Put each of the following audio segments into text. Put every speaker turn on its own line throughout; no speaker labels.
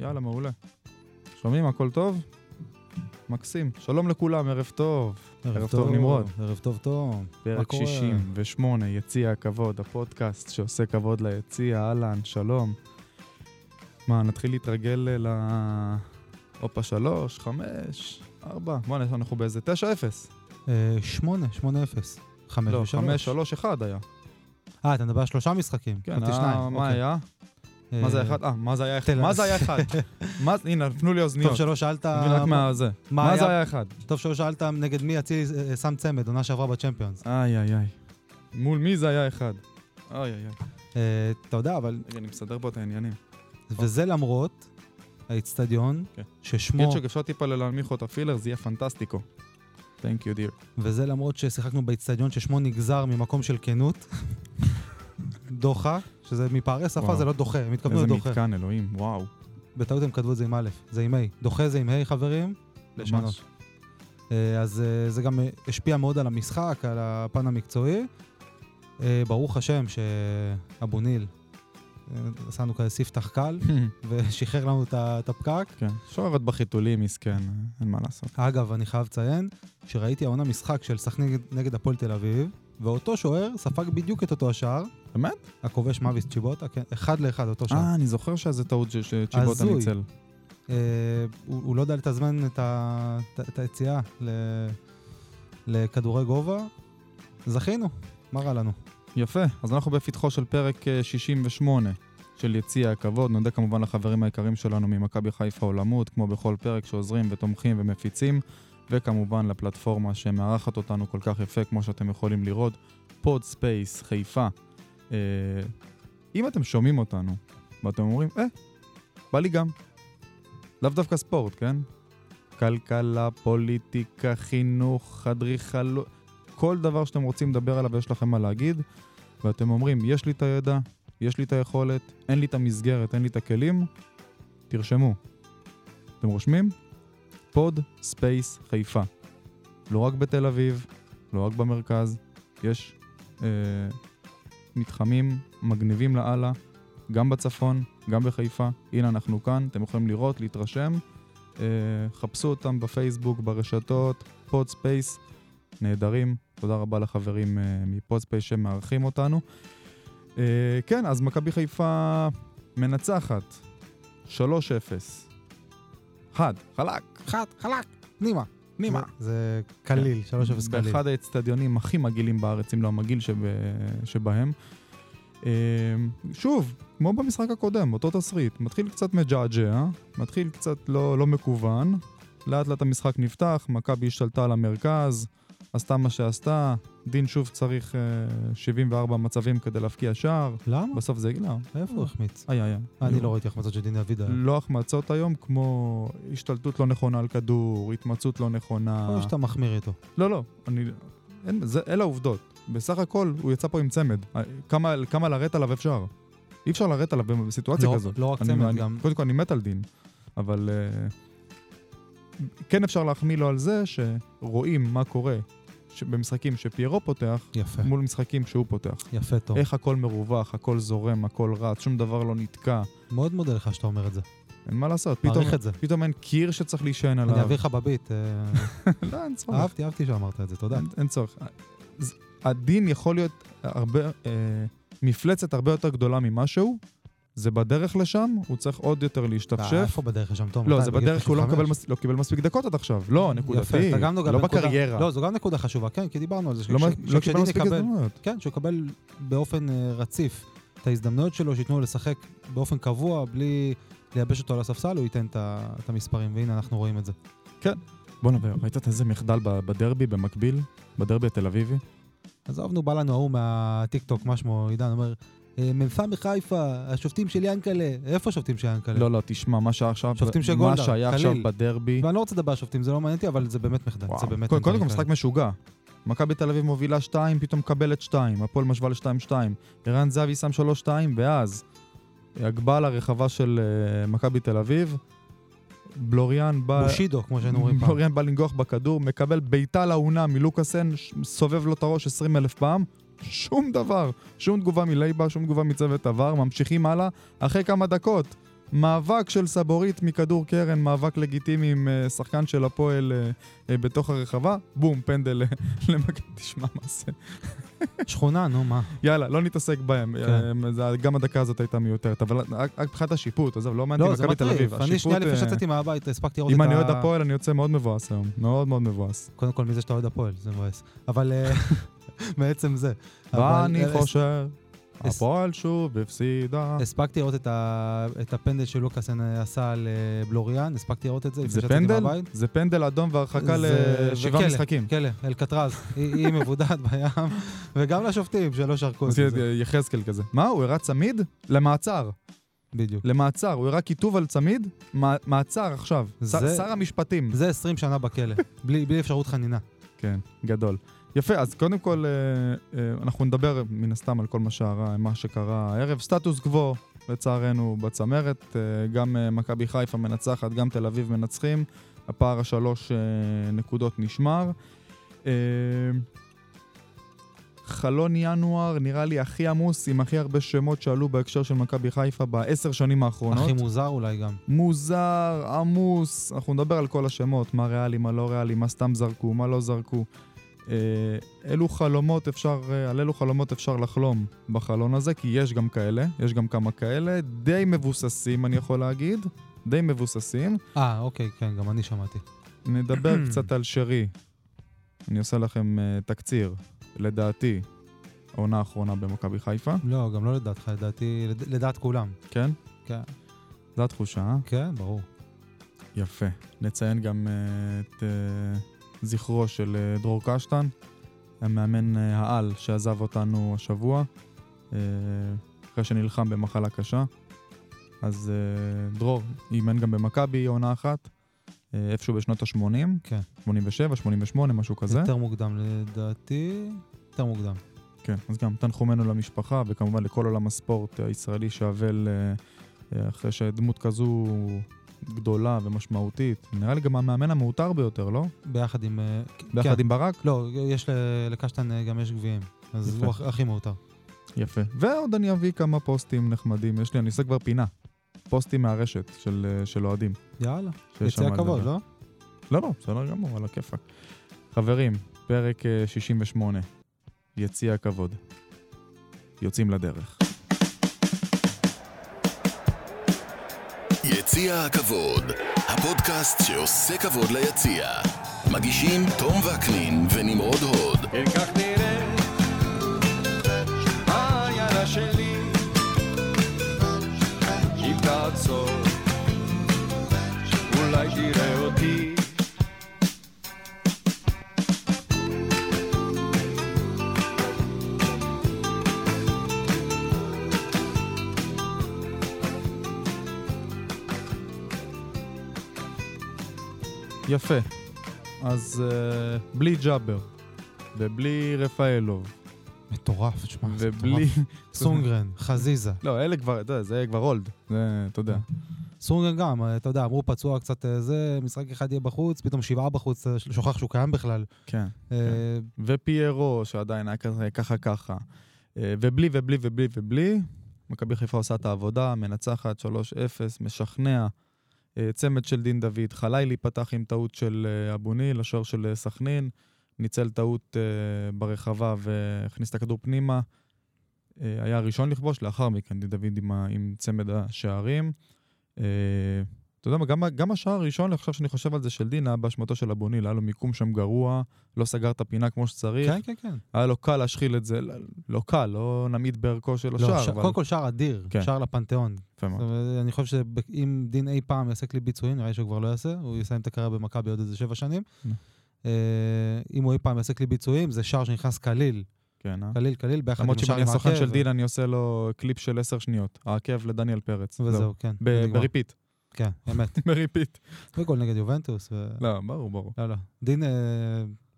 יאללה, מעולה. שומעים? הכל טוב? מקסים. שלום לכולם, ערב טוב. ערב טוב, נמרוד.
ערב טוב, תום. מה
פרק
קורה?
68, יציע הכבוד, הפודקאסט שעושה כבוד ליציע, אהלן, שלום. מה, נתחיל להתרגל ל... הופה, שלוש, חמש, ארבע. בוא'נה, אנחנו באיזה תשע אפס.
אה, שמונה, שמונה אפס. חמש
לא,
ושלוש.
חמש, שלוש, אחד היה.
אה, אתה מדבר על שלושה משחקים.
כן,
חשבתי
אה,
שניים,
מה
אוקיי.
היה?
אה,
מה זה היה אחד? אה, מה זה היה אחד?
תל
מה זה
אביב.
היה אחד? מה- הנה, נפנו לי
טוב
אוזניות.
שלא שאלת...
אני רק מהזה.
מה
מה
היה-
זה היה אחד?
טוב שלא שאלת נגד מי אצילי אה, שם צמד, עונה שעברה בצ'מפיונס.
איי, איי, איי. מול מי זה היה אחד? איי, איי, איי.
אה, אתה יודע, אבל...
רגע, אני מסדר פה את העניינים.
וזה למרות האיצטדיון
כן.
ששמו...
קיצ'ק, אפשר טיפה להנמיך אותה פילר, זה יהיה פנטסטיקו. Thank you, dear.
וזה למרות ששיחקנו באיצטדיון ששמו נגזר ממקום של כנות. דוחה, שזה מפערי שפה
וואו.
זה לא דוחה, הם התכוונו
איזה
לדוחה.
מתקן, אלוהים, וואו.
בטעות הם כתבו את זה עם א', זה עם ה'. דוחה זה עם ה', חברים.
ממש.
אה, אז אה, זה גם אה, השפיע מאוד על המשחק, על הפן המקצועי. אה, ברוך השם שאבו ניל אה, עשה לנו כזה ספתח קל ושחרר לנו את ה- את הפקק.
כן, אה, שוערת בחיתולים, מסכן, אין מה לעשות.
אגב, אני חייב לציין שראיתי העונה משחק של סכנין נגד- נגד הפועל תל אביב, ואותו שוער ספג בדיוק את אותו השער.
באמת?
הכובש מוויס צ'יבוטה, כן, אחד לאחד אותו שער.
אה, אני זוכר שהיה איזה טעות ש- שצ'יבוטה
הזוי.
ניצל.
אה, הוא, הוא לא יודע לתזמן את, ה, את, את היציאה ל, לכדורי גובה. זכינו, מה רע לנו?
יפה, אז אנחנו בפתחו של פרק אה, 68 של יציע הכבוד. נודה כמובן לחברים היקרים שלנו ממכבי חיפה עולמות, כמו בכל פרק שעוזרים ותומכים ומפיצים, וכמובן לפלטפורמה שמארחת אותנו כל כך יפה, כמו שאתם יכולים לראות, פוד ספייס חיפה. אה, אם אתם שומעים אותנו, ואתם אומרים, אה, בא לי גם. לאו דווקא ספורט, כן? כלכלה, פוליטיקה, חינוך, אדריכלות, כל דבר שאתם רוצים לדבר עליו ויש לכם מה להגיד, ואתם אומרים, יש לי את הידע, יש לי את היכולת, אין לי את המסגרת, אין לי את הכלים, תרשמו. אתם רושמים? פוד ספייס חיפה. לא רק בתל אביב, לא רק במרכז, יש אה, מתחמים מגניבים לאללה, גם בצפון, גם בחיפה. הנה אנחנו כאן, אתם יכולים לראות, להתרשם. אה, חפשו אותם בפייסבוק, ברשתות, פוד ספייס, נהדרים. תודה רבה לחברים אה, מפודספייס שמארחים אותנו. אה, כן, אז מכבי חיפה מנצחת 3-0. חד, חלק,
חד, חלק, נימה.
נימה.
זה- זה קליל,
כן.
3-0 קליל.
באחד האצטדיונים הכי מגעילים בארץ, אם לא המגעיל שב... שבהם. אה, שוב, כמו במשחק הקודם, אותו תסריט, מתחיל קצת מג'עג'ע, מתחיל קצת לא, לא מקוון, לאט לאט המשחק נפתח, מכבי השתלטה על המרכז, עשתה מה שעשתה, דין שוב צריך אה, 74 מצבים כדי להבקיע שער,
למה?
בסוף זה הגיע,
איפה הוא החמיץ?
היה, היה.
אני לא ראיתי החמצות של דין דוד. היום.
לא החמצות היום, כמו השתלטות לא נכונה על כדור, התמצאות לא נכונה.
או שאתה מחמיר איתו.
לא, לא, אני... אין, זה, אלה העובדות. בסך הכל, הוא יצא פה עם צמד. אה, כמה, כמה לרדת עליו אפשר? אי אפשר לרדת עליו בסיטואציה
לא-
כזאת.
לא רק
אני-
צמד,
אני-
גם...
קודם כל, אני מת על דין, אבל... אה, כן אפשר להחמיא לו על זה שרואים מה קורה ש- במשחקים שפיירו פותח
יפה,
מול משחקים שהוא פותח.
יפה טוב.
איך הכל מרווח, הכל זורם, הכל רץ, שום דבר לא נתקע,
מאוד מודה לך שאתה אומר את זה.
אין מה לעשות. פתאום,
מעריך את זה.
פתאום אין קיר שצריך להישען עליו.
אני אעביר לך בביט. אה,
לא, אין צורך.
אהבתי, אהבתי שאמרת את זה, תודה.
לא, אין, אין צורך. אז הדין יכול להיות הרבה, אה, מפלצת הרבה יותר גדולה ממשהו, זה בדרך לשם, הוא צריך עוד יותר
אה,
להשתפשף.
איפה בדרך לשם, תום?
לא,
מתי?
זה
בגיל
בדרך כי הוא לא
35?
מקבל מס- לא קיבל מספיק דקות עד עכשיו. לא, נקודתי,
יפה, אתה גם נוגע
לא
בנקודה-
בקריירה.
לא, זו גם נקודה חשובה, כן, כי דיברנו על זה.
לא
שכש-
מ- לא קיבל
שכשדין
מספיק
יקבל-
הזדמנויות.
כן, שהוא יקבל באופן אה, רציף את ההזדמנויות שלו, שייתנו לו לשחק באופן קבוע, בלי לייבש אותו על הספסל, הוא ייתן את ה- את המספרים, והנה אנחנו רואים את זה.
בואנה, ראית את איזה מחדל ב- בדרבי במקביל? בדרבי התל אביבי?
עזבנו, בא לנו ההוא מהטיקטוק, מה שמו, עידן אומר, "אה, מ"פ מחיפה, השופטים של ינקלה, איפה השופטים של ינקלה?
לא, לא, תשמע, מה שהיה עכשיו,
שופטים של
מה
גולדהר,
שהיה עכשיו
קליל.
בדרבי,
ואני לא רוצה לדבר על שופטים, זה לא מעניין אותי, אבל זה באמת מחדל, זה באמת...
קודם קודם כל
מחדל.
משחק משוגע. מכבי תל אביב מובילה 2, פתאום מקבלת 2, הפועל משווה ל-2-2. ערן זהבי שם 3-2, ואז הגבלה רחבה של אה, מכבי תל אביב. בלוריאן בא...
בושידו, כמו שהיינו אומרים פעם.
בלוריאן בא לנגוח בכדור, מקבל בעיטה לאונה מלוקאסן, ש- סובב לו את הראש 20 אלף פעם. שום דבר, שום תגובה מלייבה, שום תגובה מצוות עבר, ממשיכים הלאה. אחרי כמה דקות, מאבק של סבורית מכדור קרן, מאבק לגיטימי עם אה, שחקן של הפועל אה, אה, בתוך הרחבה, בום, פנדל אה, למכבי, תשמע מה זה.
שכונה, נו, מה?
יאללה, לא נתעסק בהם.
כן.
אה, זה- גם הדקה הזאת הייתה מיותרת, אבל אה, רק רק מבחינת השיפוט, עזוב, לא מעניין
לא,
אותי
זה
מכבי תל
מטריף.
אביב.
אני
השיפוט,
שנייה לפני
אה,
שיצאתי מהבית הספקתי לראות את
אם
ה...
אני אוהד הפועל, אני יוצא מאוד מבואס היום. מאוד מאוד מבואס.
קודם כל, מי זה שאתה אוהד הפועל? זה מבאס. אבל אה, בעצם זה. אבל,
ואני
אה,
חושב,
אס-
הפועל שוב הפסידה.
הספקתי לראות את, ה... את הפנדל שלוקאסן עשה על אה, בלוריאן, הספקתי לראות את זה לפני
זה
שיצאתי
פנדל?
מהבית.
זה פנדל אדום והרחקה
זה-
לשבעה
וכלא,
משחקים.
כלא, אלקטרז, כן, היא היא מבודדת בים, וגם לשופטים שלא שרקו את
זה
זה.
יחזקאל כזה. מה, הוא הראה צמיד? למעצר.
בדיוק.
למעצר. הוא הראה כיתוב על צמיד? מע- מעצר עכשיו. ש-
זה-
שר המשפטים.
זה 20 שנה בכלא, בלי בלי אפשרות חנינה.
כן, גדול. יפה, אז קודם כל, אה, אה, אנחנו נדבר מן הסתם על כל מה שהרע, מה שקרה הערב. סטטוס קוו, לצערנו, בצמרת. אה, גם אה, מכבי חיפה מנצחת, גם תל אביב מנצחים. הפער השלוש אה, נקודות נשמר. אה, חלון ינואר נראה לי הכי עמוס, עם הכי הרבה שמות שעלו בהקשר של מכבי חיפה בעשר שנים האחרונות.
הכי מוזר אולי גם.
מוזר, עמוס, אנחנו נדבר על כל השמות, מה ריאלי, מה לא ריאלי, מה סתם זרקו, מה לא זרקו. אה, אילו חלומות אפשר, אה, על אילו חלומות אפשר לחלום בחלון הזה, כי יש גם כאלה, יש גם כמה כאלה, די מבוססים אני יכול להגיד, די מבוססים.
אה, אוקיי, כן, גם אני שמעתי.
נדבר קצת על שרי. אני עושה לכם אה, תקציר, לדעתי, העונה האחרונה במכבי חיפה,
לא, גם לא לדעתך, לדעתי, לד- לדעת כולם.
כן?
כן.
זו התחושה, אה?
כן, ברור.
יפה. נציין גם אה, את אה, זכרו של אה, דרור קשטן, המאמן אה, העל שעזב אותנו השבוע, אה, אחרי שנלחם במחלה קשה. אז אה, דרור אימן גם במכבי עונה אחת, אה, איפשהו בשנות ה-80,
כן.
87, 88, משהו כזה.
יותר מוקדם, לדעתי, יותר מוקדם.
כן, אז גם תנחומינו למשפחה, וכמובן לכל עולם הספורט הישראלי שאבל אה, אה, אחרי שדמות כזו גדולה ומשמעותית. נראה לי גם המאמן המעוטר ביותר, לא?
ביחד עם... אה,
ביחד
כן.
עם ברק?
לא, יש ל- לקשטן אה, גם יש גביעים. אז
יפה.
הוא הכ- הכי מאותר.
יפה. ועוד אני אביא כמה פוסטים נחמדים. יש לי, אני עושה כבר פינה. פוסטים מהרשת של, אה, של אוהדים.
יאללה,
שיש שם
יציע
מה
כבוד,
לדבר.
לא?
לא, לא, בסדר גמור, על הכיפאק. חברים, פרק אה, 68, יציע הכבוד. יוצאים לדרך.
יציע הכבוד, הפודקאסט שעושה כבוד ליציע. מגישים תום וקנין ונמרוד הוד.
אם כך נראית העיירה שלי אם תעצור אולי תראה אותי
יפה. אז uh, בלי ג'אבר, ובלי רפאלוב,
מטורף, תשמע, זה
ובלי...
מטורף. סונגרן, חזיזה.
לא, אלה כבר, אתה יודע, זה כבר אולד. זה, אתה יודע.
סונגרן גם, אה, אתה יודע, אמרו פצוע קצת אה, זה, משחק אחד יהיה בחוץ, פתאום שבעה בחוץ, אה, שוכח שהוא קיים בכלל.
כן.
אה,
ופיירו, שעדיין היה כזה ככה ככה. אה, ובלי ובלי ובלי ובלי, מכבי חיפה עושה את העבודה, מנצחת 3-0, משכנע. אה, צמד של דין דוד, חלילי פתח עם טעות של אה, אבו ניל, השוער של אה, סכנין, ניצל טעות אה, ברחבה והכניס את הכדור פנימה. אה, היה הראשון לכבוש, לאחר מכן דין דוד עם, ה- עם צמד השערים. אה, אתה יודע מה, גם, ה- גם השער הראשון, עכשיו שאני חושב על זה, של דין, היה באשמתו של אבו ניל, היה לו מיקום שם גרוע, לא סגר את הפינה כמו שצריך.
כן, כן, כן.
היה לו קל להשחיל את זה, לא- לא קל, לא נמעיט בערכו של
לא,
השער,
ש-
אבל...
קודם כל שער אדיר,
כן.
שער לפנתיאון.
יפה מאוד.
זאת אומרת, אני חושב שאם דין אי פעם יעשה כלי ביצועים, נראה לי שהוא כבר לא יעשה, הוא יסיים את הקריירה במכבי עוד איזה שבע שנים.
נו.
אה, אם הוא אי פעם יעשה כלי ביצועים, זה שער שנכנס קליל,
כן, אה?
קליל, קליל, ביחד עם
למרות
השער
שאני
עם
הסוכן של
העקב, אה?
דין, אני עושה לו קליפ של עשר שניות. העקב לדניאל פרץ. זהו.
וזהו, כן.
לא. ב-
נגמר.
בריפיט.
כן, אמת.
בריפיט.
וגול נגד יובנטוס. ו-
לא, ברור, ברור.
לא, לא. דין אה,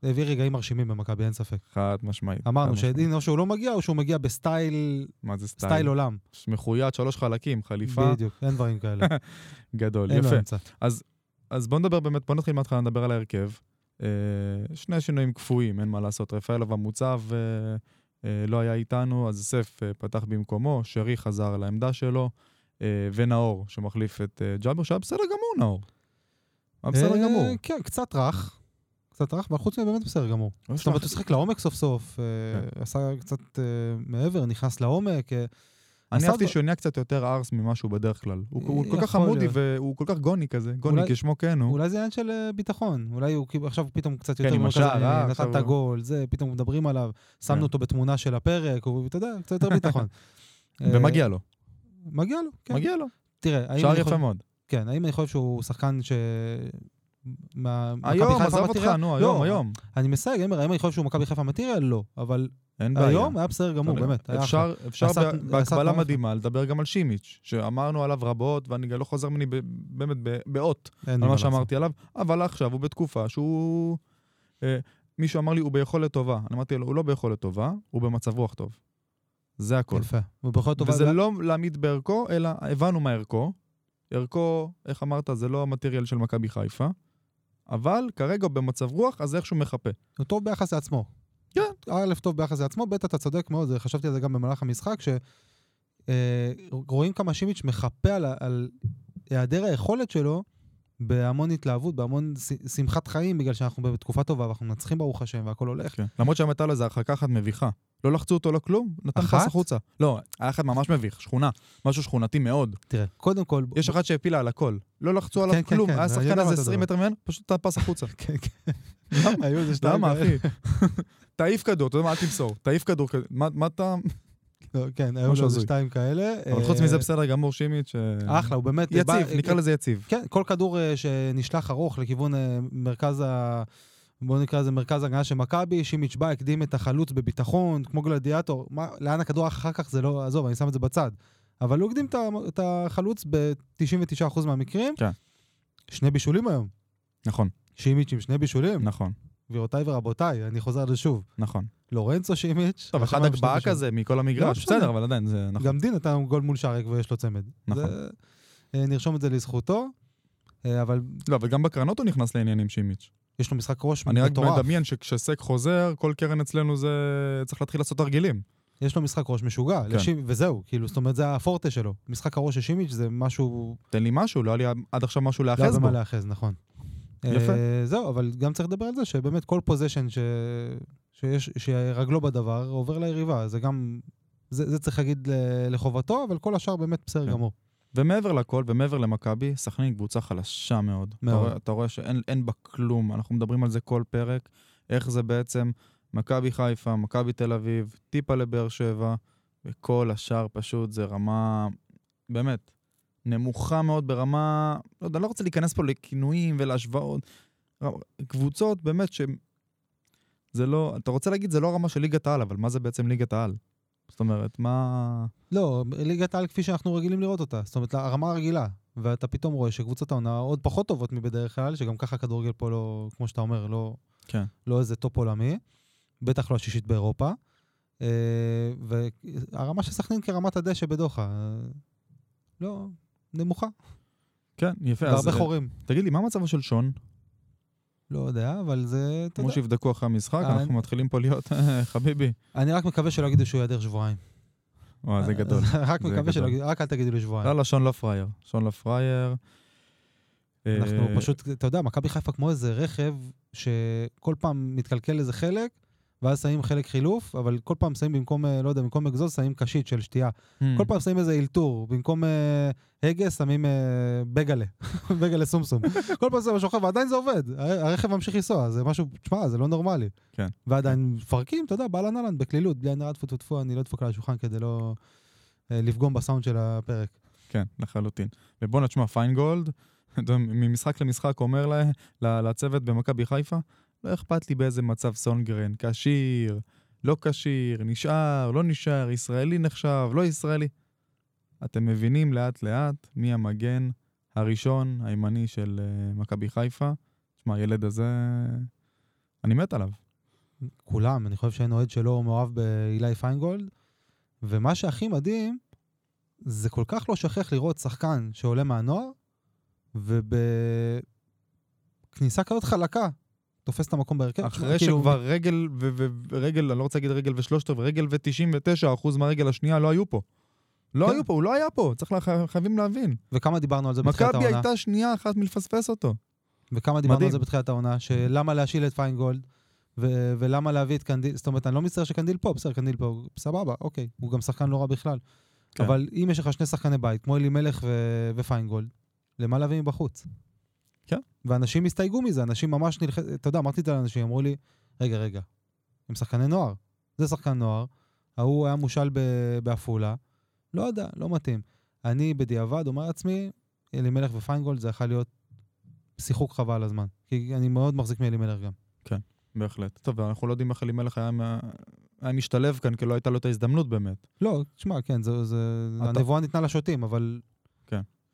העביר רגעים מרשימים במכבי, אין ספק.
חד משמעית.
אמרנו
חד משמעית.
שדין או שהוא לא מגיע, או שהוא מגיע בסטייל
מה זה סטייל?
סטייל עולם.
מחויית, שלוש חלקים, חליפה.
בדיוק, אין דברים כאלה.
גדול,
אין לו
יפה.
אמצע.
אז בוא נדבר באמת, בוא נתחיל מההתחלה, נדבר על ההרכב. אה, שני שינויים קפואים, אין מה לעשות. רפאלוב המוצב אה, אה, לא היה איתנו, אז סף אה, פתח במקומו, שרי חזר לעמדה שלו. אה, ונאור, שמחליף את אה, ג'אבר, שהיה בסדר גמור, נאור. היה בסדר
אה,
גמור.
כן, קצת רך. קצת רך, אבל חוץ מזה באמת בסדר גמור.
לא
זאת אומרת, הוא שיחק לעומק סוף סוף, אה,
כן.
עשה קצת אה, מעבר, נכנס לעומק. אה,
אני
עשה
אהבתי
דו-
שהוא נהיה קצת יותר ארס ממה שהוא בדרך כלל. הוא- הוא כל כך
יכול
חמודי
להיות.
והוא כל כך גוני כזה, גוני
אולי-
כשמו כן הוא.
אולי זה עניין של אה, ביטחון, אולי הוא כאילו עכשיו פתאום קצת
כן,
יותר
עם
מרכז,
השער, אה,
אה,
עכשיו
נתן את
הוא-
הגול, זה, פתאום מדברים עליו,
כן.
שמנו אותו בתמונה של הפרק, הוא, אתה יודע, קצת יותר ביטחון. אה,
ומגיע לו,
מגיע לו, כן.
מגיע לו.
תראה, האם
שער
אני
יפה
חושב-
מאוד.
כן, האם אני חושב שהוא שחקן ש... מה- מכבי
היום,
חיפה
עזוב אותך,
מטריאל?
נו,
לא,
היום, היום.
אני מסייג, אמר, האם אני חושב שהוא מכבי חיפה מטריאל? לא. אבל
אין בעיה.
היום היה בסדר גמור,
אבל
באמת. היה אחלה.
אפשר, אפשר
עשה-
בה-
עשה
בהקבלה
תנועה
מדהימה לדבר גם על שימיץ', שאמרנו עליו רבות, ואני גם לא חוזר ממני ב- באמת ב- באות
אין לי
על מה
לעשות.
שאמרתי עליו, אבל עכשיו הוא בתקופה שהוא... אה, מישהו אמר לי, הוא ביכולת טובה. אני אמרתי לו, הוא לא ביכולת טובה, הוא במצב רוח טוב. זה הכל.
יפה. הוא בכל טובה.
וזה לא להעמיד בערכו, אלא הבנו מה ערכו. ערכו, איך אמרת, זה לא המטריאל של מכבי חיפה, אבל כרגע הוא במצב רוח, אז איכשהו מחפה.
הוא טוב ביחס לעצמו.
כן.
א', טוב ביחס לעצמו, ב', אתה צודק מאוד, זה- חשבתי על זה גם במהלך המשחק, שרואים כמה שימיץ' מחפה על, ה- על היעדר היכולת שלו בהמון התלהבות, בהמון ש- שמחת חיים, בגלל שאנחנו בתקופה טובה ואנחנו מנצחים ברוך השם והכל הולך.
כן. למרות שם הייתה לו איזו הרחקה אחת מביכה. לא לחצו אותו, לא כלום, נתן
אחת?
פס החוצה. לא, היה אחת ממש מביך, שכונה. משהו שכונתי מאוד.
תראה, קודם כל...
יש אחת שהפילה על הכל. לא לחצו עליו
כן, כן,
כלום,
כן,
היה
אני
שחקן
יודע מה
איזה
אתה
20
מדבר.
מטר ממנו, פשוט נתן פס החוצה.
כן, כן. היו איזה שתיים
למה,
כאלה.
אחי? תעיף כדור, אתה יודע מה, אל תמסור. תעיף כדור, כ- מה מה אתה...
לא, כן, היו לו
משהו
איזה
הזוי.
שתיים כאלה.
אבל
אה,
חוץ מזה בסדר גמור, שימיץ', ש-
אחלה, הוא באמת... בא-
יציב, נקרא לזה יציב.
כן, כל כדור אה, שנשלח ארוך לכיוון אה, מרכז ה... בואו נקרא לזה מרכז הגנה של מכבי, שימיץ' בא, הקדים את החלוץ בביטחון, כמו גלדיאטור. מה, לאן הכדור אחר כך זה לא... עזוב, אני שם את זה בצד. אבל הוא הקדים את ה- את החלוץ ב-99% מהמקרים.
כן.
שני בישולים היום.
נכון,
שימיץ' עם שני בישולים.
נכון,
גבירותיי ורבותיי, אני חוזר לזה שוב.
נכון.
לורנצו שימיץ'.
טוב,
רשם
אחד
היום שני
הגבהה
בישולים.
כזה מכל המגרש,
משנה.
בסדר, אבל עדיין זה נכון.
גם דין נתן לנו גול מול שרק ויש לו צמד.
נכון.
זה- אה, נרשום את זה לזכותו. אה, אבל
לא, וגם בקרנות הוא נכנס לעניינים שימיץ'.
יש לו משחק ראש
אני רק
מטורף.
מדמיין שכשסק חוזר, כל קרן אצלנו זה... צריך להתחיל לעשות תרגילים.
יש לו משחק ראש משוגע,
כן.
לשימ... וזהו, כאילו, זאת אומרת, זה הפורטה שלו. משחק הראש של שימיץ' זה משהו...
תן לי משהו, לא היה לי עד עכשיו משהו
לא היה
להאחז בו.
במה להאחז, נכון.
יפה.
אה, זהו, אבל גם צריך לדבר על זה שבאמת כל פוזיישן ש... שיש, שרגלו בדבר עובר ליריבה, זה גם... זה, זה צריך להגיד ל- לחובתו, אבל כל השאר באמת בסדר
כן.
גמור.
ומעבר לכל, ומעבר למכבי, סכנין היא קבוצה חלשה מאוד.
מאוד.
אתה רואה, אתה רואה שאין אין בה כלום, אנחנו מדברים על זה כל פרק, איך זה בעצם מכבי חיפה, מכבי תל אביב, טיפה לבאר שבע, וכל השאר פשוט זה רמה, באמת, נמוכה מאוד ברמה, לא יודע, אני לא רוצה להיכנס פה לכינויים ולהשוואות. ר- קבוצות באמת ש... זה לא, אתה רוצה להגיד זה לא הרמה של ליגת העל, אבל מה זה בעצם ליגת העל? זאת אומרת, מה...
לא, ליגת העל כפי שאנחנו רגילים לראות אותה, זאת אומרת, הרמה הרגילה. ואתה פתאום רואה שקבוצות העונה עוד פחות טובות מבדרך כלל, שגם ככה הכדורגל פה לא, כמו שאתה אומר, לא,
כן.
לא איזה טופ עולמי, בטח לא השישית באירופה. אה, והרמה של סכנין כרמת הדשא בדוחה, אה, לא, נמוכה,
כן, יפה. אז,
והרבה
אה,
חורים.
תגיד לי, מה מצבו של שון?
לא יודע, אבל זה, אתה
כמו
יודע.
שיבדקו אחרי המשחק,
אה,
אנחנו מתחילים פה להיות, אה, חביבי.
אני רק מקווה שלא יגידו שהוא ייעדר שבועיים.
וואי,
אה,
זה גדול.
רק
זה
מקווה
גדול.
שלא יגידו, רק אל תגידו לי שבועיים.
לא, לא, שון לא פראייר. שון לא פראייר. אה,
אנחנו פשוט, אתה יודע, מכבי חיפה כמו איזה רכב שכל פעם מתקלקל איזה חלק, ואז שמים חלק חילוף, אבל כל פעם שמים במקום, אה, לא יודע, במקום אגזוז שמים קשית של שתייה.
Hmm.
כל פעם שמים איזה אלתור, במקום אה, הגה שמים אה, בגלה, בגלה סומסום. כל פעם זה משהו אחר, ועדיין זה עובד, הר- הרכב ממשיך לנסוע, זה משהו, תשמע, זה לא נורמלי.
כן.
ועדיין מפרקים, אתה יודע, באהלן אהלן, בקלילות, בלי עין הרע טפו טפו טפו, אני לא אדפוק על השולחן כדי לא אה, לפגום בסאונד של הפרק.
כן, לחלוטין. ובואנה, תשמע, פיינגולד, אתה יודע, ממשחק למשחק אומר לה- ל- לצוות במכבי חיפה, לא אכפת לי באיזה מצב סונגרן, כשיר, לא כשיר, נשאר, לא נשאר, ישראלי נחשב, לא ישראלי. אתם מבינים לאט-לאט מי המגן הראשון, הימני של אה, מכבי חיפה. תשמע, הילד הזה, אני מת עליו.
כולם, אני חושב שאין אוהד שלא מאוהב באילי פיינגולד. ומה שהכי מדהים, זה כל כך לא שכח לראות שחקן שעולה מהנוער, ובכניסה כזאת חלקה, תופס את המקום בהרכב.
אחרי
כאילו,
שכבר רגל, ו- ו- ורגל, אני לא רוצה להגיד רגל ושלושת רבעי, רגל ו-99% מהרגל השנייה לא היו פה. לא
כן.
היו פה, הוא לא היה פה, צריך, לה- חייבים להבין.
וכמה דיברנו על זה בתחילת
מכבי
העונה,
הייתה שנייה אחת מלפספס אותו.
וכמה דיברנו
מדהים.
על זה בתחילת העונה, שלמה להשיל את פיינגולד, ו- ולמה להביא את קנדיל, זאת אומרת, אני לא מצטער שקנדיל פה, בסדר, קנדיל פה, סבבה, אוקיי, הוא גם שחקן לא רע בכלל.
כן.
אבל אם יש לך שני שחקני בית, כמו אלימלך ו- ופיינגולד, למה להביא מבחוץ?
כן.
ואנשים הסתייגו מזה, אנשים ממש נלחץ, אתה יודע, אמרתי את זה לאנשים, אמרו לי, רגע, רגע, הם שחקני נוער, זה שחקן נוער, ההוא היה מושל ב- בעפולה, לא יודע, לא מתאים. אני בדיעבד אומר לעצמי, אלימלך ופיינגולד זה יכול להיות שיחוק חבל על הזמן. כי אני מאוד מחזיק מאלימלך גם.
בהחלט. טוב, אנחנו לא יודעים איך אלימלך היה, מה- היה משתלב כאן, כי לא הייתה לו את ההזדמנות באמת.
לא, תשמע, כן, זה... זה...
אתה-
הנבואה ניתנה לשוטים, אבל...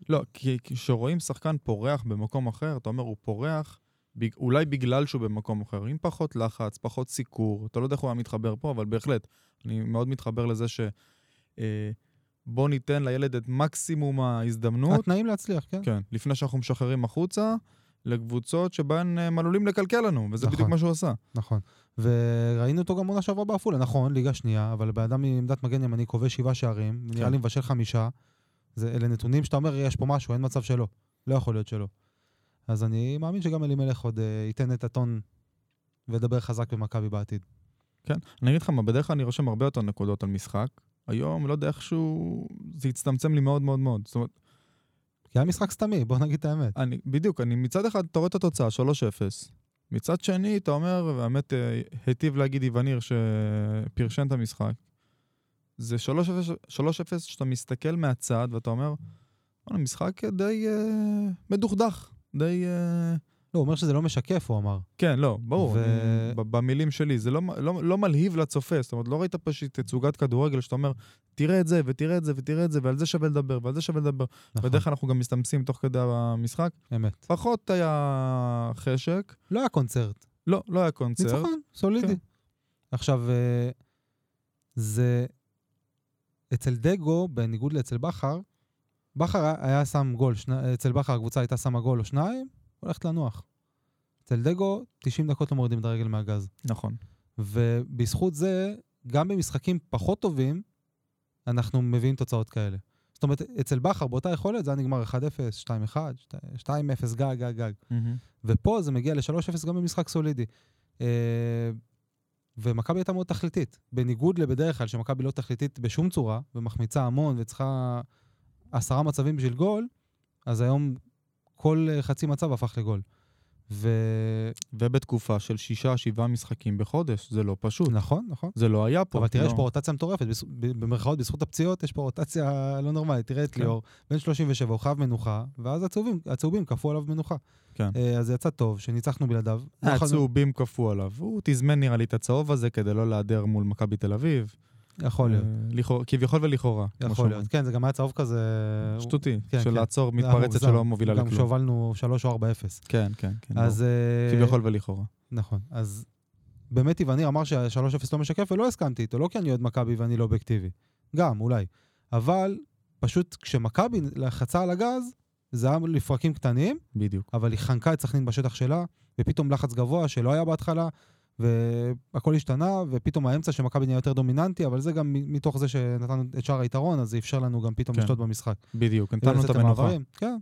לא, כי כי כשרואים שחקן פורח במקום אחר, אתה אומר, הוא פורח בג... אולי בגלל שהוא במקום אחר, עם פחות לחץ, פחות סיקור, אתה לא יודע איך הוא היה מתחבר פה, אבל בהחלט, אני מאוד מתחבר לזה ש... אה, בוא ניתן לילד את מקסימום ההזדמנות,
התנאים להצליח, כן?
כן, לפני שאנחנו משחררים החוצה, לקבוצות שבהן אה, הם עלולים לקלקל לנו, וזה
נכון.
בדיוק מה שהוא עשה.
נכון. וראינו אותו גם עונה שעברה בעפולה, נכון, ליגה שנייה, אבל בן אדם מעמדת מגן ימני כובש שבעה שערים, נראה לי מבשל חמישה. זה, אלה נתונים שאתה אומר, יש פה משהו, אין מצב שלא. לא יכול להיות שלא. אז אני מאמין שגם אלימלך עוד אה, ייתן את הטון וידבר חזק במכבי בעתיד.
כן, אני אגיד לך מה, בדרך כלל אני רושם הרבה יותר נקודות על משחק. היום, לא יודע איכשהו, זה הצטמצם לי מאוד מאוד מאוד. זאת אומרת,
כי היה משחק סתמי, בוא נגיד את האמת.
אני, בדיוק, אני מצד אחד, אתה רואה את התוצאה, 3-0. מצד שני, אתה אומר, והאמת, אה, היטיב להגיד איווניר שפרשן את המשחק. זה 3-0 3-0 שאתה מסתכל מהצד ואתה אומר, "וואלה, משחק די אה, מדוכדך, די... אה,
לא, הוא אומר שזה לא משקף, הוא אמר.
כן, לא, ברור,
ו-
אני- ב- במילים שלי, זה לא, מ- לא, לא מלהיב לצופה, זאת אומרת, לא ראית פה איזושהי תצוגת כדורגל שאתה אומר, תראה את זה, ותראה את זה, ותראה את זה, ועל זה שווה לדבר, ועל זה שווה לדבר.
נכון,
בדרך כלל אנחנו גם מסתמסים תוך כדי המשחק.
אמת.
פחות היה חשק,
לא היה קונצרט.
לא, לא היה קונצרט.
ניצחון, סולידי.
כן.
עכשיו, אה, זה... אצל דגו, בניגוד לאצל בכר, בכר היה- היה שם גול, שני, אצל בכר הקבוצה הייתה שמה גול או שניים, הולכת לנוח. אצל דגו, 90 דקות לא מורידים את הרגל מהגז.
נכון.
ובזכות זה, גם במשחקים פחות טובים, אנחנו מביאים תוצאות כאלה. זאת אומרת, אצל בכר באותה יכולת זה היה נגמר 1-0, 2-1, 2-0, גג, גג, גג. ופה זה מגיע ל-3-0 גם במשחק סולידי. אה, ומכבי הייתה מאוד תכליתית. בניגוד לבדרך כלל, שמכבי לא תכליתית בשום צורה, ומחמיצה המון וצריכה עשרה מצבים בשביל גול, אז היום כל אה, חצי מצב הפך לגול. ונכון,
ובתקופה של שישה, שבעה משחקים בחודש, זה לא פשוט.
נכון.
זה לא היה פה.
אבל תראה,
לא.
יש פה רוטציה מטורפת, בזכ- ב- במרכאות, בזכות הפציעות, יש פה רוטציה לא נורמלית. תראה את
כן.
ליאור, בן 37, הוא חייב מנוחה, ואז הצהובים, הצהובים כפו עליו מנוחה.
כן. אה,
אה, אז זה יצא טוב, שניצחנו בלעדיו. לא יכולנו-
הצהובים כפו עליו. הוא תזמן נראה לי את הצהוב הזה כדי לא להדר מול מכבי תל אביב.
יכול להיות.
אה, לכאורה- כביכול ולכאורה. כמו
יכול
שאומרים. אה,
להיות, כן, זה גם היה צהוב כזה...
שטותי,
כן,
של
כן.
לעצור
זה היה
מתפרצת
מוגזם.
שלא מובילה
גם
לכלום.
כשהובלנו 3 או 4-0.
כן, כן, כן.
אז... אה,
ברור. כביכול ולכאורה.
נכון, אז באמת איווניר אמר שה-3-0 לא משקף ולא הסכמתי איתו, לא כי אני אוהד מכבי ואני לא אובייקטיבי. גם, אולי. אבל פשוט כשמכבי לחצה על הגז, זה היה לפרקים קטנים,
בדיוק.
אבל היא חנקה את סכנין בשטח שלה, ופתאום לחץ גבוה שלא היה בהתחלה, והכל השתנה, ופתאום האמצע שמכבי נהיה יותר דומיננטי, אבל זה גם מ- מתוך זה שנתנו את שער היתרון, אז זה אפשר לנו גם פתאום
כן.
לשלוט במשחק.
בדיוק, נתנו את
לצאת
המנוחה.
למעברים, כן,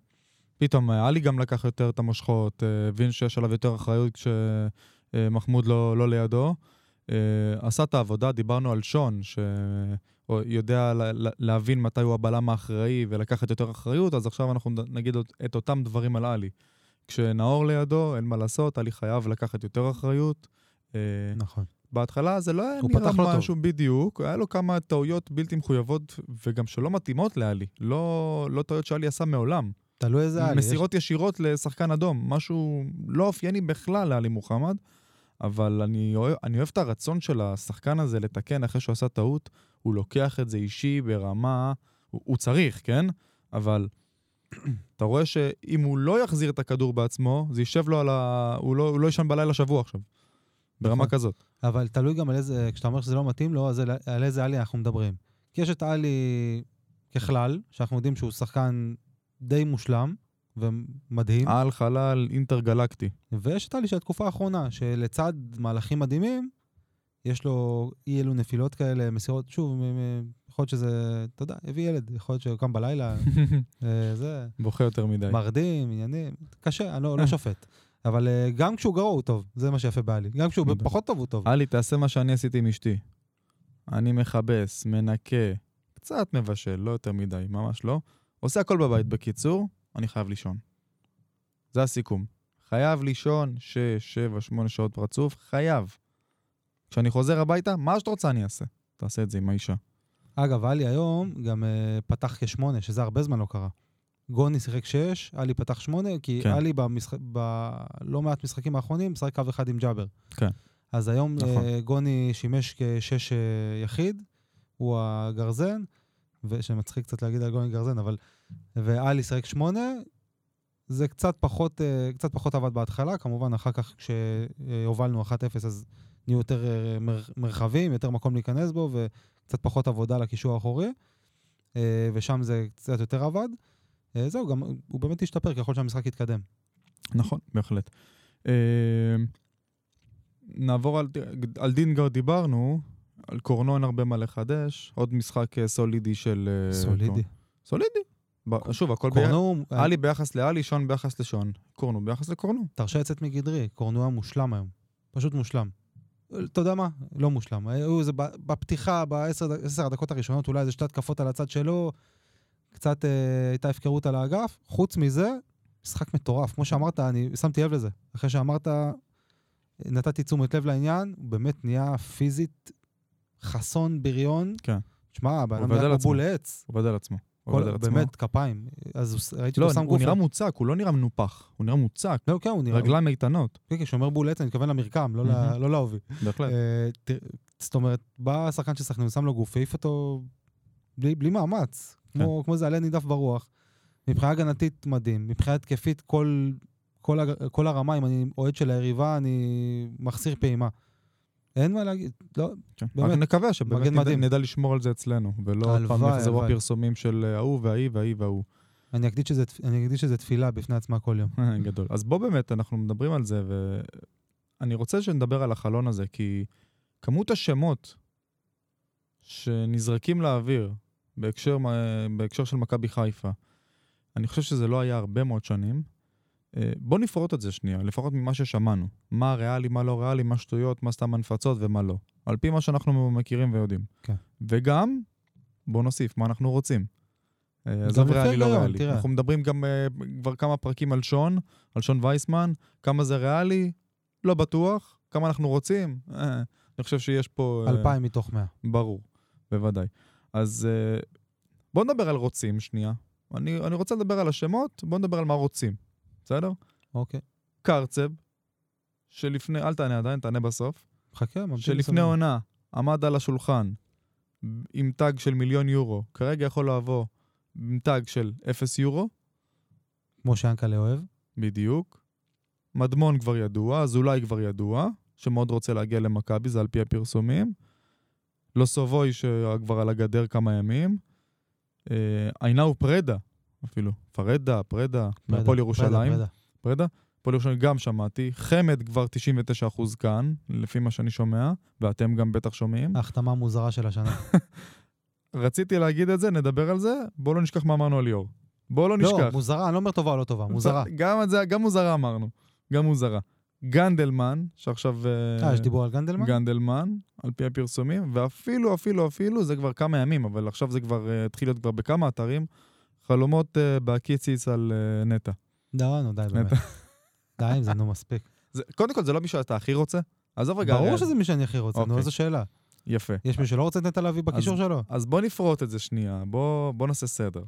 פתאום אה, עלי גם לקח יותר את המושכות, אה, הבין שיש עליו יותר אחריות כשמחמוד לא, לא לידו. אה, עשה את העבודה, דיברנו על שון, שיודע להבין מתי הוא הבלם האחראי ולקחת יותר אחריות, אז עכשיו אנחנו נ- נגיד אות- את אותם דברים על עלי. כשנאור לידו, אין מה לעשות, עלי חייב לקחת יותר אחריות. אה,
נכון.
בהתחלה זה לא היה
הוא
נראה
פתח לא טוב.
משהו בדיוק, היה לו כמה טעויות בלתי מחויבות וגם שלא מתאימות לעלי, לא, לא טעויות שעלי עשה מעולם.
תלוי איזה עלי. יש-
מסירות ישירות לשחקן אדום, משהו לא אופייני בכלל לעלי מוחמד, אבל אני אוהב, אני אוהב את הרצון של השחקן הזה לתקן אחרי שהוא עשה טעות, הוא לוקח את זה אישי ברמה, הוא, הוא צריך, כן? אבל אתה רואה שאם הוא לא יחזיר את הכדור בעצמו, זה יישב לו על ה... הוא לא, הוא לא ישן בלילה שבוע עכשיו. ברמה
נכון.
כזאת.
אבל תלוי גם על איזה, כשאתה אומר שזה לא מתאים לו, אז על- על איזה עלי אנחנו מדברים. כי יש את עלי ככלל, שאנחנו יודעים שהוא שחקן די מושלם ומדהים,
על חלל אינטרגלקטי.
ויש את עלי של התקופה האחרונה, שלצד מהלכים מדהימים, יש לו אי אלו נפילות כאלה, מסירות, שוב, מ- מ- יכול להיות שזה, אתה יודע, הביא ילד, יכול להיות שהוא קם בלילה, אה, זה,
בוכה יותר מדי.
מרדים, עניינים, קשה, אני לא לא שופט. אבל אה, גם כשהוא גרוע הוא טוב, זה מה שיפה בעלי. גם כשהוא
בדיוק.
פחות טוב הוא טוב.
עלי, תעשה מה שאני עשיתי עם אשתי. אני מכבס, מנקה, קצת מבשל, לא יותר מדי, ממש לא. עושה הכל בבית. בקיצור, אני חייב לישון. זה הסיכום. חייב לישון 6, 7, 8 שעות רצוף, חייב. כשאני חוזר הביתה, מה שאת רוצה אני אעשה. תעשה את זה עם האישה.
אגב, עלי היום גם אה, פתח כשמונה, שזה הרבה זמן לא קרה. גוני שיחק שש, עלי פתח שמונה, כי
כן.
עלי במשחק, בלא מעט משחקים האחרונים משחק קו אחד עם ג'אבר.
כן.
אז היום
נכון.
אה, גוני שימש כשש אה, יחיד, הוא הגרזן, ושמצחיק קצת להגיד על גוני גרזן, אבל... ועלי שיחק שמונה, זה קצת פחות, אה, קצת פחות עבד בהתחלה, כמובן אחר כך כשהובלנו 1-0 אז נהיו יותר אה, מר- מרחבים, יותר מקום להיכנס בו, ו... קצת פחות עבודה לקישור האחורי, אה, ושם זה קצת יותר עבד. אה, זהו, גם הוא באמת השתפר ככל שהמשחק יתקדם.
נכון, בהחלט. אה, נעבור על, על דינגר דיברנו, על קורנו אין הרבה מה לחדש, עוד משחק אה, סולידי של... אה,
סולידי.
סולידי. ב- שוב, הכל ביחד.
קורנו, אה,
עלי ביחס לעלי, שון ביחס לשון. קורנו ביחס לקורנו.
תרשה לצאת מגדרי, קורנו היה מושלם היום. פשוט מושלם. אה, אתה יודע מה? לא מושלם. אה, הוא זה ב- בפתיחה, בעשר דק- עשר הדקות הראשונות, אולי איזה שתי התקפות על הצד שלו, קצת אה, הייתה הפקרות על האגף. חוץ מזה, משחק מטורף. כמו שאמרת, אני שמתי לב לזה. אחרי שאמרת, נתתי תשומת לב לעניין, הוא באמת נהיה פיזית חסון בריון.
כן.
שמע, הבן אדם
עובד על
היה כמו
עצמו.
בול עץ.
עובד על עצמו. עובד על
כל-
עצמו.
באמת, כפיים. אז הוא ס- ראיתי
לא,
אותו שם
הוא
גוף.
נראה מוצק, הוא לא נראה מנופח. הוא נראה מוצק.
לא, כן, הוא נראה...
רגליים איתנות,
כן, כן, כשאומר בול עץ, אני מתכוון למרקם, לא ל-
מהמם. כן.
לא לעובי.
בהחלט.
אה, תראה, זאת אומרת, בא השחקן של סכנין, שם לו גוף, העיף אותו בלי, בלי מאמץ,
כן.
כמו, כמו איזה עלה נידף ברוח. מבחינה הגנתית מדהים, מבחינה התקפית כל, כל, הג- כל הרמה, אם אני אוהד של היריבה, אני מחסיר פעימה. אין מה להגיד, לא,
כן.
באמת.
רק נקווה שבאמת
מגן
נדע-
מדהים.
נדע לשמור על זה אצלנו, ולא עוד פעם
הלוואי,
יחזרו
הלוואי.
הפרסומים של אה, ההוא וההיא וההיא וההוא.
אני אקדיש שזה, אני אקדיש שזה תפילה בפני עצמה כל יום.
גדול. אז בוא באמת, אנחנו מדברים על זה, ואני רוצה שנדבר על החלון הזה, כי כמות השמות שנזרקים לאוויר בהקשר, מ- בהקשר של מכבי חיפה, אני חושב שזה לא היה הרבה מאוד שנים. אה, בוא נפרוט את זה שנייה, לפחות ממה ששמענו. מה ריאלי, מה לא ריאלי, מה שטויות, מה סתם הנפצות ומה לא. על פי מה שאנחנו מכירים ויודעים.
כן.
וגם, בוא נוסיף, מה אנחנו רוצים. אה, עזוב
לפי
ריאלי, לא
ההיגיון,
ריאלי.
תראה.
אנחנו מדברים גם אה, כבר כמה פרקים על שון, על שון וייסמן, כמה זה ריאלי, לא בטוח, כמה אנחנו רוצים. אה, אני חושב שיש פה... אה,
אלפיים מתוך מאה.
ברור, בוודאי. אז uh, בוא נדבר על רוצים שנייה. אני, אני רוצה לדבר על השמות, בוא נדבר על מה רוצים, בסדר?
אוקיי.
קרצב, שלפני, אל תענה עדיין, תענה בסוף,
חכה, ממתין.
שלפני
בסבלנות.
עונה עמד על השולחן עם טאג של מיליון יורו, כרגע יכול לבוא עם טאג של אפס יורו,
כמו שיאנקל'ה אוהב.
בדיוק. מדמון כבר ידוע, אזולאי כבר ידוע, שמאוד רוצה להגיע למכבי, זה על פי הפרסומים. לוסובוי שכבר על הגדר כמה ימים. אה, עינאו פרדה, אפילו. פרדה, פרדה, מהפועל
פרדה,
ירושלים.
פרדה, פרדה.
פרדה? הפועל ירושלים גם שמעתי. חמד כבר 99% כאן, לפי מה שאני שומע, ואתם גם בטח שומעים.
ההחתמה המוזרה של השנה.
רציתי להגיד את זה, נדבר על זה. בואו לא נשכח מה אמרנו על ליאור. בואו לא
לא,
נשכח.
מוזרה, אני לא אומר טובה או לא טובה, מוזרה.
גם את זה, גם מוזרה אמרנו. גם מוזרה. גנדלמן, שעכשיו...
אה, יש דיבור על גנדלמן?
גנדלמן, על פי הפרסומים, ואפילו, אפילו, אפילו, זה כבר כמה ימים, אבל עכשיו זה כבר אה, התחיל להיות כבר בכמה אתרים, חלומות אה, בהקיציס על אה, נטע.
לא, נו, די באמת. די עם זה, נו, מספיק.
זה- קודם כל, זה לא מי שאתה הכי רוצה? עזוב רגע.
ברור
הרי-
שזה מי שאני הכי רוצה, נו,
אוקיי.
איזו שאלה.
יפה.
יש מי שלא רוצה את נטע לביא בקישור שלו?
אז בוא נפרוט את זה שנייה, בוא, בוא נעשה סדר.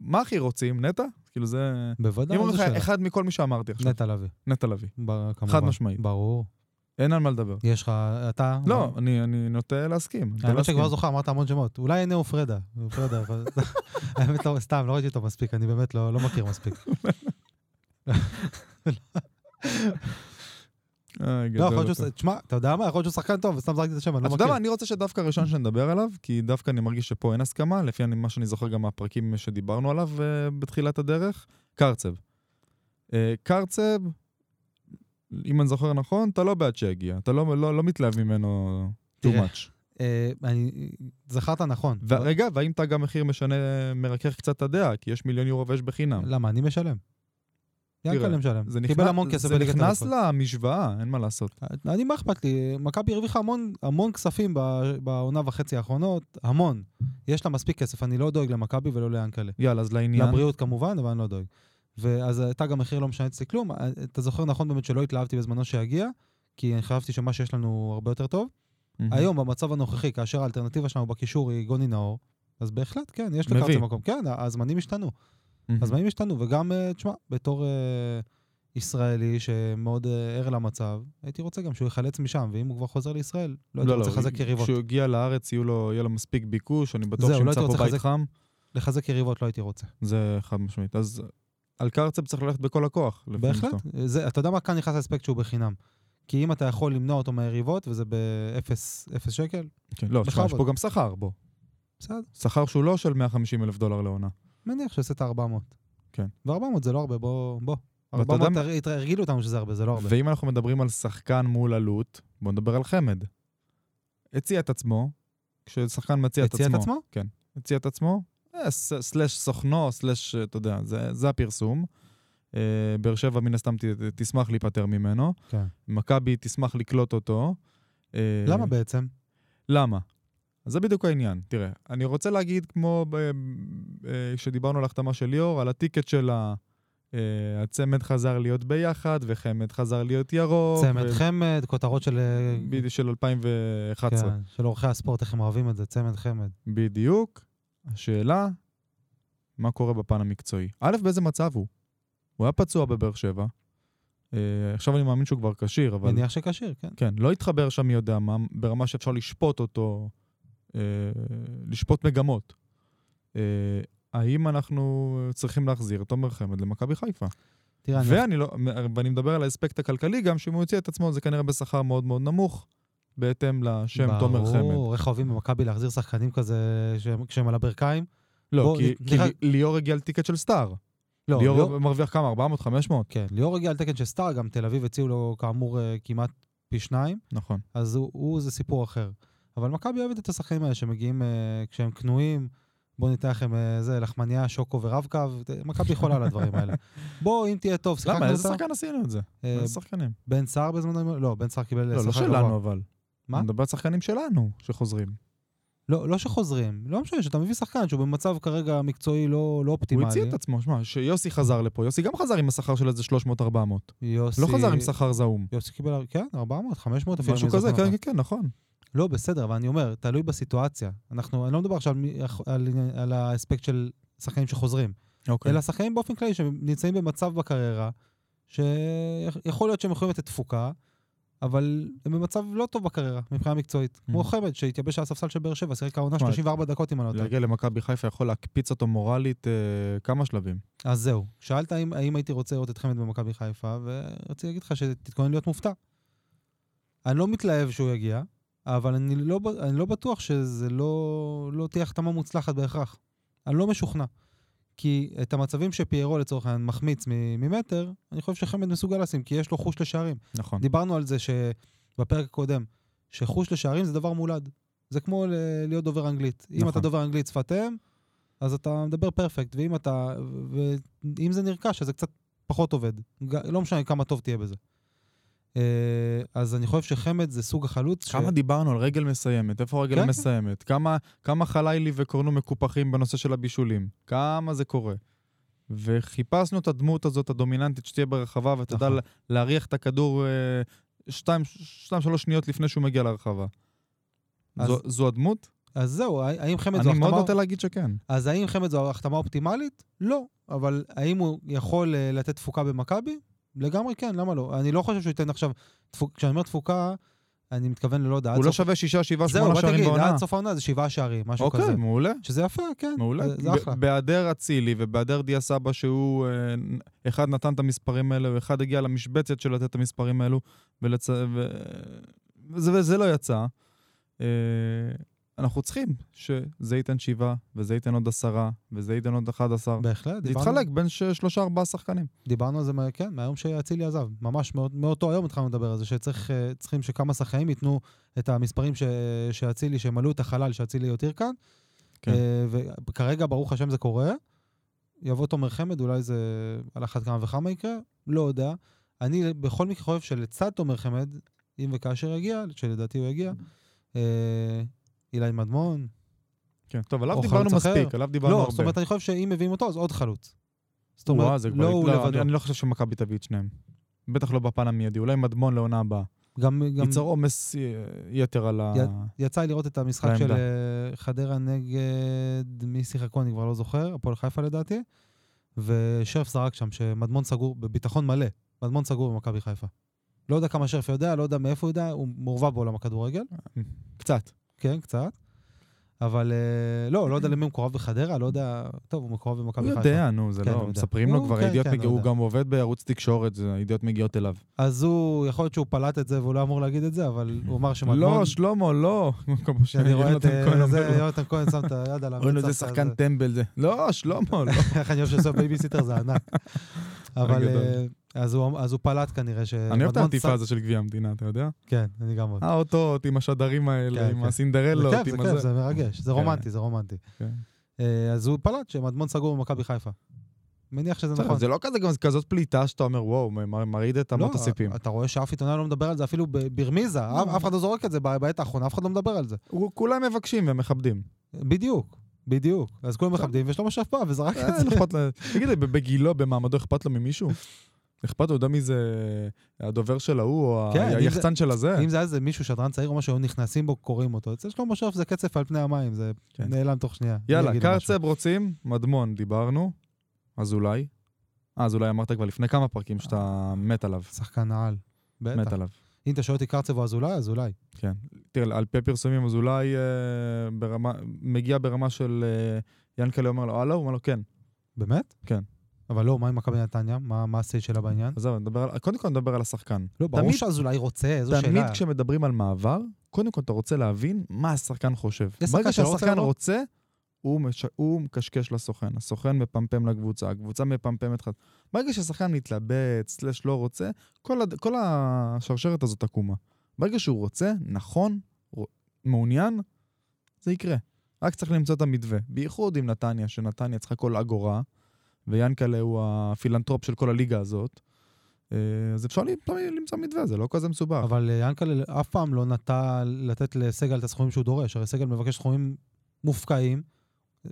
מה הכי רוצים, נטע? כאילו זה...
בוודאי,
אם אומרים
איזו
לך
לא, שאלה.
אחד מכל מי שאמרתי עכשיו,
נטע לביא,
נטע לביא.
בר- כמובן.
חד משמעית.
ברור.
אין על מה לדבר.
יש לך, אתה...
לא, אני, אני נוטה להסכים. נוטה
האמת
להסכים.
שכבר זוכר, אמרת המון שמות. אולי הנה הוא פרדה. הוא פרדה, אבל- האמת, לא, סתם, לא ראיתי אותו מספיק, אני באמת לא לא מכיר מספיק.
אה,
לא,
גדול
יכול להיות
אתה.
שהוא... תשמע, אתה יודע מה? יכול להיות שהוא שחקן טוב, וסתם זרקתי את השם, אני לא
אתה
מכיר.
יודע מה, אני רוצה שדווקא הראשון שנדבר עליו, כי דווקא אני מרגיש שפה אין הסכמה, לפי אני- מה שאני זוכר גם מהפרקים שדיברנו עליו אה, בתחילת הדרך, קרצב. אה, קרצב, אם אני זוכר נכון, אתה לא בעד שיגיע, אתה לא, לא, לא מתלהב ממנו too
תראה,
much.
אה, אני- זכרת נכון.
רגע, והאם תג המחיר משנה, מרכך קצת את הדעה? כי יש מיליון יורו ויש בחינם.
למה? אני משלם.
תראה,
ינקלה משלם.
זה
לא. קיבל
נכנס-
המון כסף
זה
בליגת
נכנס
האלופות.
למשוואה, אין מה לעשות.
אני, מה אכפת לי? מכבי הרוויחה המון, המון כספים ב- בעונה וחצי האחרונות, המון. יש לה מספיק כסף, אני לא דואג למכבי ולא ליאנקלה.
יאללה, אז לעניין.
לבריאות כמובן, אבל אני לא דואג. ואז תג המחיר לא משנה אצלי כלום. אה, אתה זוכר נכון באמת שלא התלהבתי בזמנו שיגיע, כי אני חשבתי שמה שיש לנו הוא הרבה יותר טוב.
מהמם.
היום, במצב הנוכחי, כאשר האלטרנטיבה שלנו בקישור היא גוני נאור, אז בהחלט, כן, יש לקרצה
מביא.
מקום. כן, ה- הזמנים השתנו.
מהמם.
הזמנים השתנו, וגם, אה, תשמע, בתור אה, ישראלי שמאוד אה, ער למצב, הייתי רוצה גם שהוא ייחלץ משם, ואם הוא כבר חוזר לישראל, לא הייתי רוצה לחזק יריבות.
כשהוא יגיע לארץ יהיו לו- יהיה לו מספיק ביקוש, אני בטוח
זהו,
שהוא
לא
ימצא
הייתי
פה
רוצה
בית
לחזק-
חם.
לחזק יריבות לא הייתי רוצה.
זה חד משמעית. אז על קרצב צריך ללכת בכל הכוח. לפי
בהחלט.
דעתו.
זה, אתה יודע מה? כאן נכנס האספקט שהוא בחינם. כי אם אתה יכול למנוע אותו מהיריבות, וזה ב-0 שקל,
כן, לא, תשמע, יש
בכבוד.
פה גם שכר, בוא.
בסדר,
שכר שהוא לא של 150 אלף דולר לעונה.
מניח שעושה את ה-400.
כן.
ו-400 זה לא הרבה, בוא, בוא.
ואתה יודע
400
מה?
הר- הר- הרגילו אותנו שזה הרבה, זה לא הרבה.
ואם אנחנו מדברים על שחקן מול עלות, בוא נדבר על חמד. הציע את עצמו, כששחקן מציע את עצמו.
הציע את עצמו?
כן. הציע את עצמו, אה, ס- סלאש סוכנו, סלאש, אה, אתה יודע, זה- זה הפרסום. אה, באר שבע מן הסתם ת- ת- תשמח להיפטר ממנו.
כן.
מכבי תשמח לקלוט אותו. אה,
למה בעצם?
למה? אז זה בדיוק העניין. תראה, אני רוצה להגיד, כמו ב- אה, שדיברנו על ההחתמה של ליאור, על הטיקט של ה... אה, הצמד חזר להיות ביחד, וחמד חזר להיות ירוק.
צמד
ו-
חמד, כותרות של... אה,
אה, בדיוק, של 2011.
כן, של עורכי הספורט, איך הם אוהבים את זה, צמד חמד.
בדיוק. השאלה, מה קורה בפן המקצועי? א', באיזה מצב הוא? הוא היה פצוע בבאר שבע. אה, עכשיו אני מאמין שהוא כבר כשיר, אבל...
מניח שכשיר, כן.
כן, לא התחבר שם מי יודע מה, ברמה שאפשר לשפוט אותו, אה, לשפוט מגמות. אה, האם אנחנו צריכים להחזיר את תומר חמד למכבי חיפה?
תראה, אני-
ואני, לא, ואני מדבר על האספקט הכלכלי גם, שאם הוא יוציא את עצמו זה כנראה בשכר מאוד מאוד נמוך, בהתאם לשם תומר חמד.
ברור, איך אוהבים במכבי להחזיר שחקנים כזה שהם- כשהם על הברכיים?
לא,
בוא,
כי,
נ-
כי
נראה-
ליאור הגיע לטיקט של סטאר.
לא,
ליאור
ליאור-
מרוויח כמה? 400? 500?
כן, ליאור הגיע על תקן של סטאר, גם תל אביב הציעו לו כאמור אה, כמעט פי שניים,
נכון.
אז הוא- הוא זה סיפור אחר. אבל מכבי אוהבת את השחקנים האלה שמגיעים אה, כשהם כנועים, בוא ניתן לכם אה, זה, לחמניה, שוקו ורב-קו, ת- מכבי יכולה על הדברים האלה. בוא, אם תהיה טוב, שיחקנו
למה? איזה
אותה.
שחקן עשינו את זה?
אה,
איזה שחקנים?
בן סער בזמנו, לא, בן סער קיבל
לא, לא
שכר
שלנו אבל.
מה?
אני מדבר על שחקנים שלנו שחוזרים.
לא, לא שחוזרים, לא משנה, שאתה מביא שחקן שהוא במצב כרגע מקצועי לא לא
הוא
אופטימלי.
הציע את עצמו, שמע, שיוסי חזר לפה, יוסי גם חזר עם השכר של איזה 300-400.
יוסי...
לא חזר עם שכר זעום.
יוסי קיבל, כן, 400, 500 אפילו.
משהו
אני
כזה,
זוכר
כן,
נכון.
כן, כן, נכון.
לא, בסדר, אבל אני אומר, תלוי בסיטואציה. אנחנו, אני לא מדבר עכשיו על, מי- על, על האספקט של שחקנים שחוזרים, okay.
אוקיי.
אלא שחקנים באופן כללי שנמצאים במצב בקריירה, שיכול להיות שהם יכולים לתת תפוקה, אבל הם במצב לא טוב בקריירה, מבחינה מקצועית. כמו
Mhm.
חמד, שהתייבש על הספסל של באר שבע, שיחק העונה
תשמע,
34 דקות, אם אני לא טועה.
להגיע למכבי חיפה יכול להקפיץ אותו מורלית אה, כמה שלבים.
אז זהו, שאלת האם, האם הייתי רוצה לראות את חמד במכבי חיפה, ורציתי להגיד לך שתתכונן להיות מופתע. אני לא מתלהב שהוא יגיע, אבל אני לא, ב- אני לא בטוח שזה לא, לא תהיה החתמה מוצלחת בהכרח. אני לא משוכנע. כי את המצבים שפיירו לצורך העניין מחמיץ מ- ממטר, אני חושב שחמד מסוגל לשים, כי יש לו חוש לשערים.
נכון.
דיברנו על זה שבפרק הקודם, שחוש לשערים זה דבר מולד. זה כמו ל- להיות דובר אנגלית. אם
נכון.
אתה דובר אנגלית שפת אם, אז אתה מדבר פרפקט, ואם אתה... ואם זה נרכש, אז זה קצת פחות עובד. ג- לא משנה כמה טוב תהיה בזה. אה, אז אני חושב שחמד זה סוג החלוץ.
כמה דיברנו על רגל מסיימת, איפה
אה, כן,
הרגל
כן.
מסיימת? כמה- כמה חלילי וקורנו מקופחים בנושא של הבישולים? כמה זה קורה? וחיפשנו את הדמות הזאת, הדומיננטית, שתהיה ברחבה, ואתה יודע
נכון.
לה- להריח את הכדור אה, שתיים, שתיים, שלוש שניות לפני שהוא מגיע לרחבה.
אז-
זו- זו הדמות?
אז זהו, הא- האם חמד זו
אני מאוד
החתמה...
רוצה להגיד שכן.
אז האם חמד זו החתמה אופטימלית? לא. אבל האם הוא יכול אה, לתת תפוקה במכבי? לגמרי כן, למה לא? אני לא חושב שהוא ייתן עכשיו... תפוק... כשאני אומר תפוקה, אני מתכוון ללא יודע. עד
הוא לא
סוף-
שווה שישה, שבעה,
זהו,
שמונה
בוא
שערים
תגיד,
בעונה.
עד סוף העונה זה שבעה שערים, משהו כזה.
אוקיי, מעולה,
שזה יפה, כן.
מעולה.
זה- זה
ב-
אחלה.
בהיעדר אצילי ובהיעדר דיה סבא, שהוא אה, נ- אחד נתן את המספרים האלה ואחד הגיע למשבצת של לתת את המספרים האלו, ולצ... ו... וזה, וזה לא יצא. אה, אנחנו צריכים שזה ייתן שבעה, וזה ייתן עוד עשרה, וזה ייתן עוד 11.
בהחלט,
זה
דיברנו-
יתחלק בין ש- שלושה ארבעה שחקנים.
דיברנו על זה, מה- כן, מהיום שאצילי עזב. ממש מאות- מאותו היום התחלנו לדבר על זה, שצריכים שכמה שחקנים ייתנו את המספרים ש- שאצילי, שהם עלו את החלל שאצילי הותיר כאן.
כן.
אה, וכרגע, ברוך השם, זה קורה. יבוא תומר חמד, אולי זה על אחת כמה וכמה יקרה, לא יודע. אני בכל מקרה חושב שלצד תומר חמד, אם וכאשר יגיע, שלדעתי הוא יגיע, אה, אילי מדמון.
כן. טוב, עליו
או
דיברנו
חלוץ אחר.
מספיק, עליו דיברנו
לא,
הרבה.
זאת אומרת, אני חושב שאם מביאים אותו, אז עוד חלוץ. זאת
וואו,
אומרת,
זה כבר-
לא הוא
אני-
לבדו.
אני לא חושב שמכבי תביא את שניהם. בטח לא בפן המיידי, אולי מדמון לעונה הבאה.
גם, גם
ייצר עומס אה, יתר על ה...
י- יצא לי לראות את המשחק
לעמדה.
של אה, חדרה נגד מי שיחקו, אני כבר לא זוכר, הפועל חיפה לדעתי, ושרף זרק שם שמדמון סגור, בביטחון מלא, מדמון סגור במכבי חיפה. לא יודע כמה שרף יודע, לא יודע מאיפה הוא יודע, הוא מעורבב בעולם הכדורגל,
קצת.
כן, קצת. אבל אה, לא, לא יודע למי הוא מקורב בחדרה, לא יודע, טוב, הוא מקורב במכבי
הוא
חיפה.
יודע, נו, זה
כן, הוא
לא...
יודע.
מספרים לו
הוא-
כבר,
כן,
הידיעות
כן, הוא
מגיעות, הוא
יודע.
גם עובד בערוץ תקשורת, זה- הידיעות מגיעות אליו.
אז הוא, יכול להיות שהוא פלט את זה והוא לא אמור להגיד את זה, אבל הוא אמר שמדמון...
לא, שלמה, לא. כמו
שאני רואה את
שיונתן
אה,
כהן אומר
זה,
לו.
יונתן כהן שם את היד על המצח.
אומרים לו, זה
כזה.
שחקן טמבל זה. לא, שלמה, לא.
איך אני אוהב שעושה בייביסיטר זה ענק. אבל
גדול.
אה, אז הוא- אז הוא פלט כנראה ש...
אני אוהב את
אה, מדמון
העטיפה אה,
שם-
הזו של גביע המדינה, אתה יודע?
כן, אני גם אוהב.
האותות עם השדרים האלה,
כן,
עם
כן. זה
הסינדרלות,
כיף, זה
עם
כיף,
הזה.
זה מרגש, זה
לא, כן.
רומנטי, זה רומנטי.
כן.
אה, אז הוא פלט שמדמון סגור במכבי חיפה. מניח שזה
בסדר,
נכון.
זה לא כזה, גם זה כזאת פליטה שאתה אומר, וואו, מ- מרעיד את אמות
לא,
הסיפים.
אתה רואה שאף עיתונאי לא מדבר על זה אפילו ב- ברמיזה, אף אף אחד לא זורק את זה ב- בעת האחרונה, אף אחד לא מדבר על זה.
הוא- כולם מבקשים ומכבדים.
בדיוק, בדיוק. אז כולם מכבדים ויש לו משהו בא וזרק
אה,
את זה.
לא אכפת לו. תגיד לי, בגילו, במעמדו, אכפת לו ממישהו? אכפת לו, יודע מי זה הדובר של ההוא, או
כן, אם
היחצן של הזה?
אם זה היה איזה מישהו, שדרן צעיר או משהו, היו נכנסים בו, קוראים אותו. אצל שלמה שרף זה קצף על פני המים, זה
כן.
נעלם תוך שנייה. מי
יאללה,
יגיד לו משהו?
קרצב רוצים, מדמון, דיברנו, אזולאי. אה, אזולאי אמרת כבר לפני כמה פרקים שאתה מת עליו.
שחקן העל.
מת
בטח.
עליו.
אם אתה שואל אותי קרצב או אזולאי, אזולאי.
תראה, על פי הפרסומים, אזולאי אה, ברמה- מגיע ברמה של אה, ינקלה אומר לו, הלו? הוא אומר לו, כן.
באמת?
כן.
אבל לא, מה עם מכבי נתניה? מה מה הסייד שלה בעניין?
אז זהו, נדבר על- קודם כל נדבר על השחקן.
לא, ברור
תמיד-
שאזולאי רוצה, איזו
תמיד
שאלה.
כשמדברים על מעבר, קודם כל אתה רוצה להבין מה השחקן חושב.
יש
ברגע
שחקן שלא רוצה
שהשחקן
לבוא?
רוצה, הוא, מש... הוא מקשקש לסוכן, הסוכן מפמפם לקבוצה, הקבוצה מפמפמת לך. ברגע שהשחקן מתלבט, סלש לא רוצה, כל, הד... כל השרשרת הזאת עקומה. ברגע שהוא רוצה, נכון, ר... מעוניין, זה יקרה. רק צריך למצוא את המתווה. בייחוד עם נתניה, שנתניה צריכה כל אגורה, ויאנקלה הוא הפילנטרופ של כל הליגה הזאת. אה, אז אפשר ל- למצוא מתווה, זה לא כזה מסובך.
אבל אה, ינקלה אף פעם לא נטה לתת לסגל את הסכומים שהוא דורש. הרי סגל מבקש סכומים מופקעים,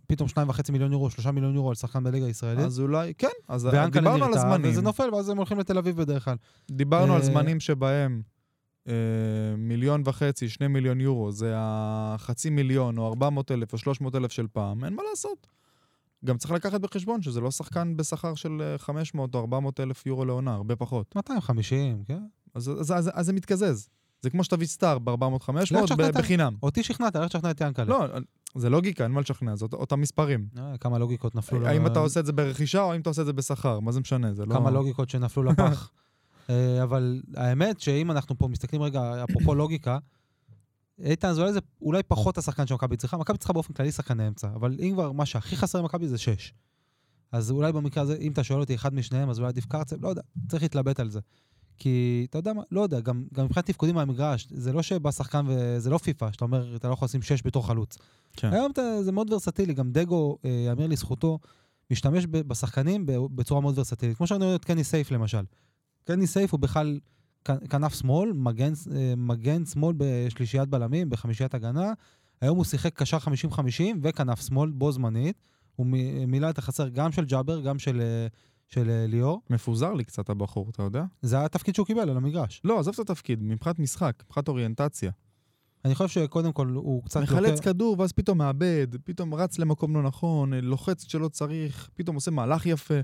פתאום 2.5 מיליון יורו, 3 מיליון יורו על שחקן בליגה הישראלית,
אז אולי, כן, אז
ויאנקלה
דיברנו על
נרתע,
הזמנים,
וזה נופל, ואז הם הולכים לתל אביב בדרך כלל.
דיברנו על
אה,
זמנים שבהם אה, מיליון וחצי, שני מיליון יורו, זה החצי מיליון או 400 אלף או 300 אלף של פעם, אין מה לעשות. גם צריך לקחת בחשבון שזה לא שחקן בשכר של אה, 500 או 400 אלף יורו לעונה, הרבה פחות.
250, כן?
אז, אז, אז, אז זה מתקזז. זה כמו שתביא סטאר
לך
ב-400-500
תשכנע את ה-
בחינם.
אותי שכנעת, לך תשכנע את ינקלה.
לא, זה לוגיקה, אין מה לשכנע, זה אות- אותם מספרים.
אה, כמה לוגיקות נפלו. לו-
האם אתה עושה את זה ברכישה או האם אתה עושה את זה בשכר, מה זה משנה, זה לא...
כמה לוגיקות שנפלו לפח. אה, אבל האמת שאם אנחנו פה מסתכלים רגע, אפרופו לוגיקה, איתן אזולאי זה אולי פחות השחקן שמכבי צריכה. מכבי צריכה באופן כללי שחקני אמצע, אבל אם כבר מה שהכי חסר למכבי זה שש. אז אולי במקרה הזה, אם אתה שואל אותי אחד משניהם, אז אולי עדיף קרצב, לא יודע, צריך להתלבט על זה. כי אתה יודע מה, לא יודע, גם, גם מבחינת תפקודים מהמגרש, זה לא שבא שחקן וזה לא פיפא, שאתה אומר, אתה לא יכול לשים שש בתור חלוץ.
כן.
היום אתה, זה מאוד ורסטילי, גם דגו, אה, יאמר לזכותו, משתמש ב- בשחקנים ב- בצורה מאוד ורסטילית. כמו שאני רואה את קני סייף למשל. קני סייף הוא בכלל כ- כנף שמאל, מגן, ס- אה, מגן שמאל בשלישיית בלמים, בחמישיית הגנה. היום הוא שיחק קשר 50-50 וכנף שמאל בו זמנית. הוא מ- מילא את החסר גם של ג'אבר, גם של, אה, של אה, ליאור.
מפוזר לי קצת הבחור, אתה יודע?
זה היה התפקיד שהוא קיבל על המגרש.
לא, עזוב את התפקיד, מבחינת משחק, מבחינת אוריינטציה.
אני חושב שקודם כל הוא קצת...
מחלץ
יותר-
כדור ואז פתאום מאבד, פתאום רץ למקום לא נכון, לוחץ כשלא צריך, פתאום עושה מהלך יפה.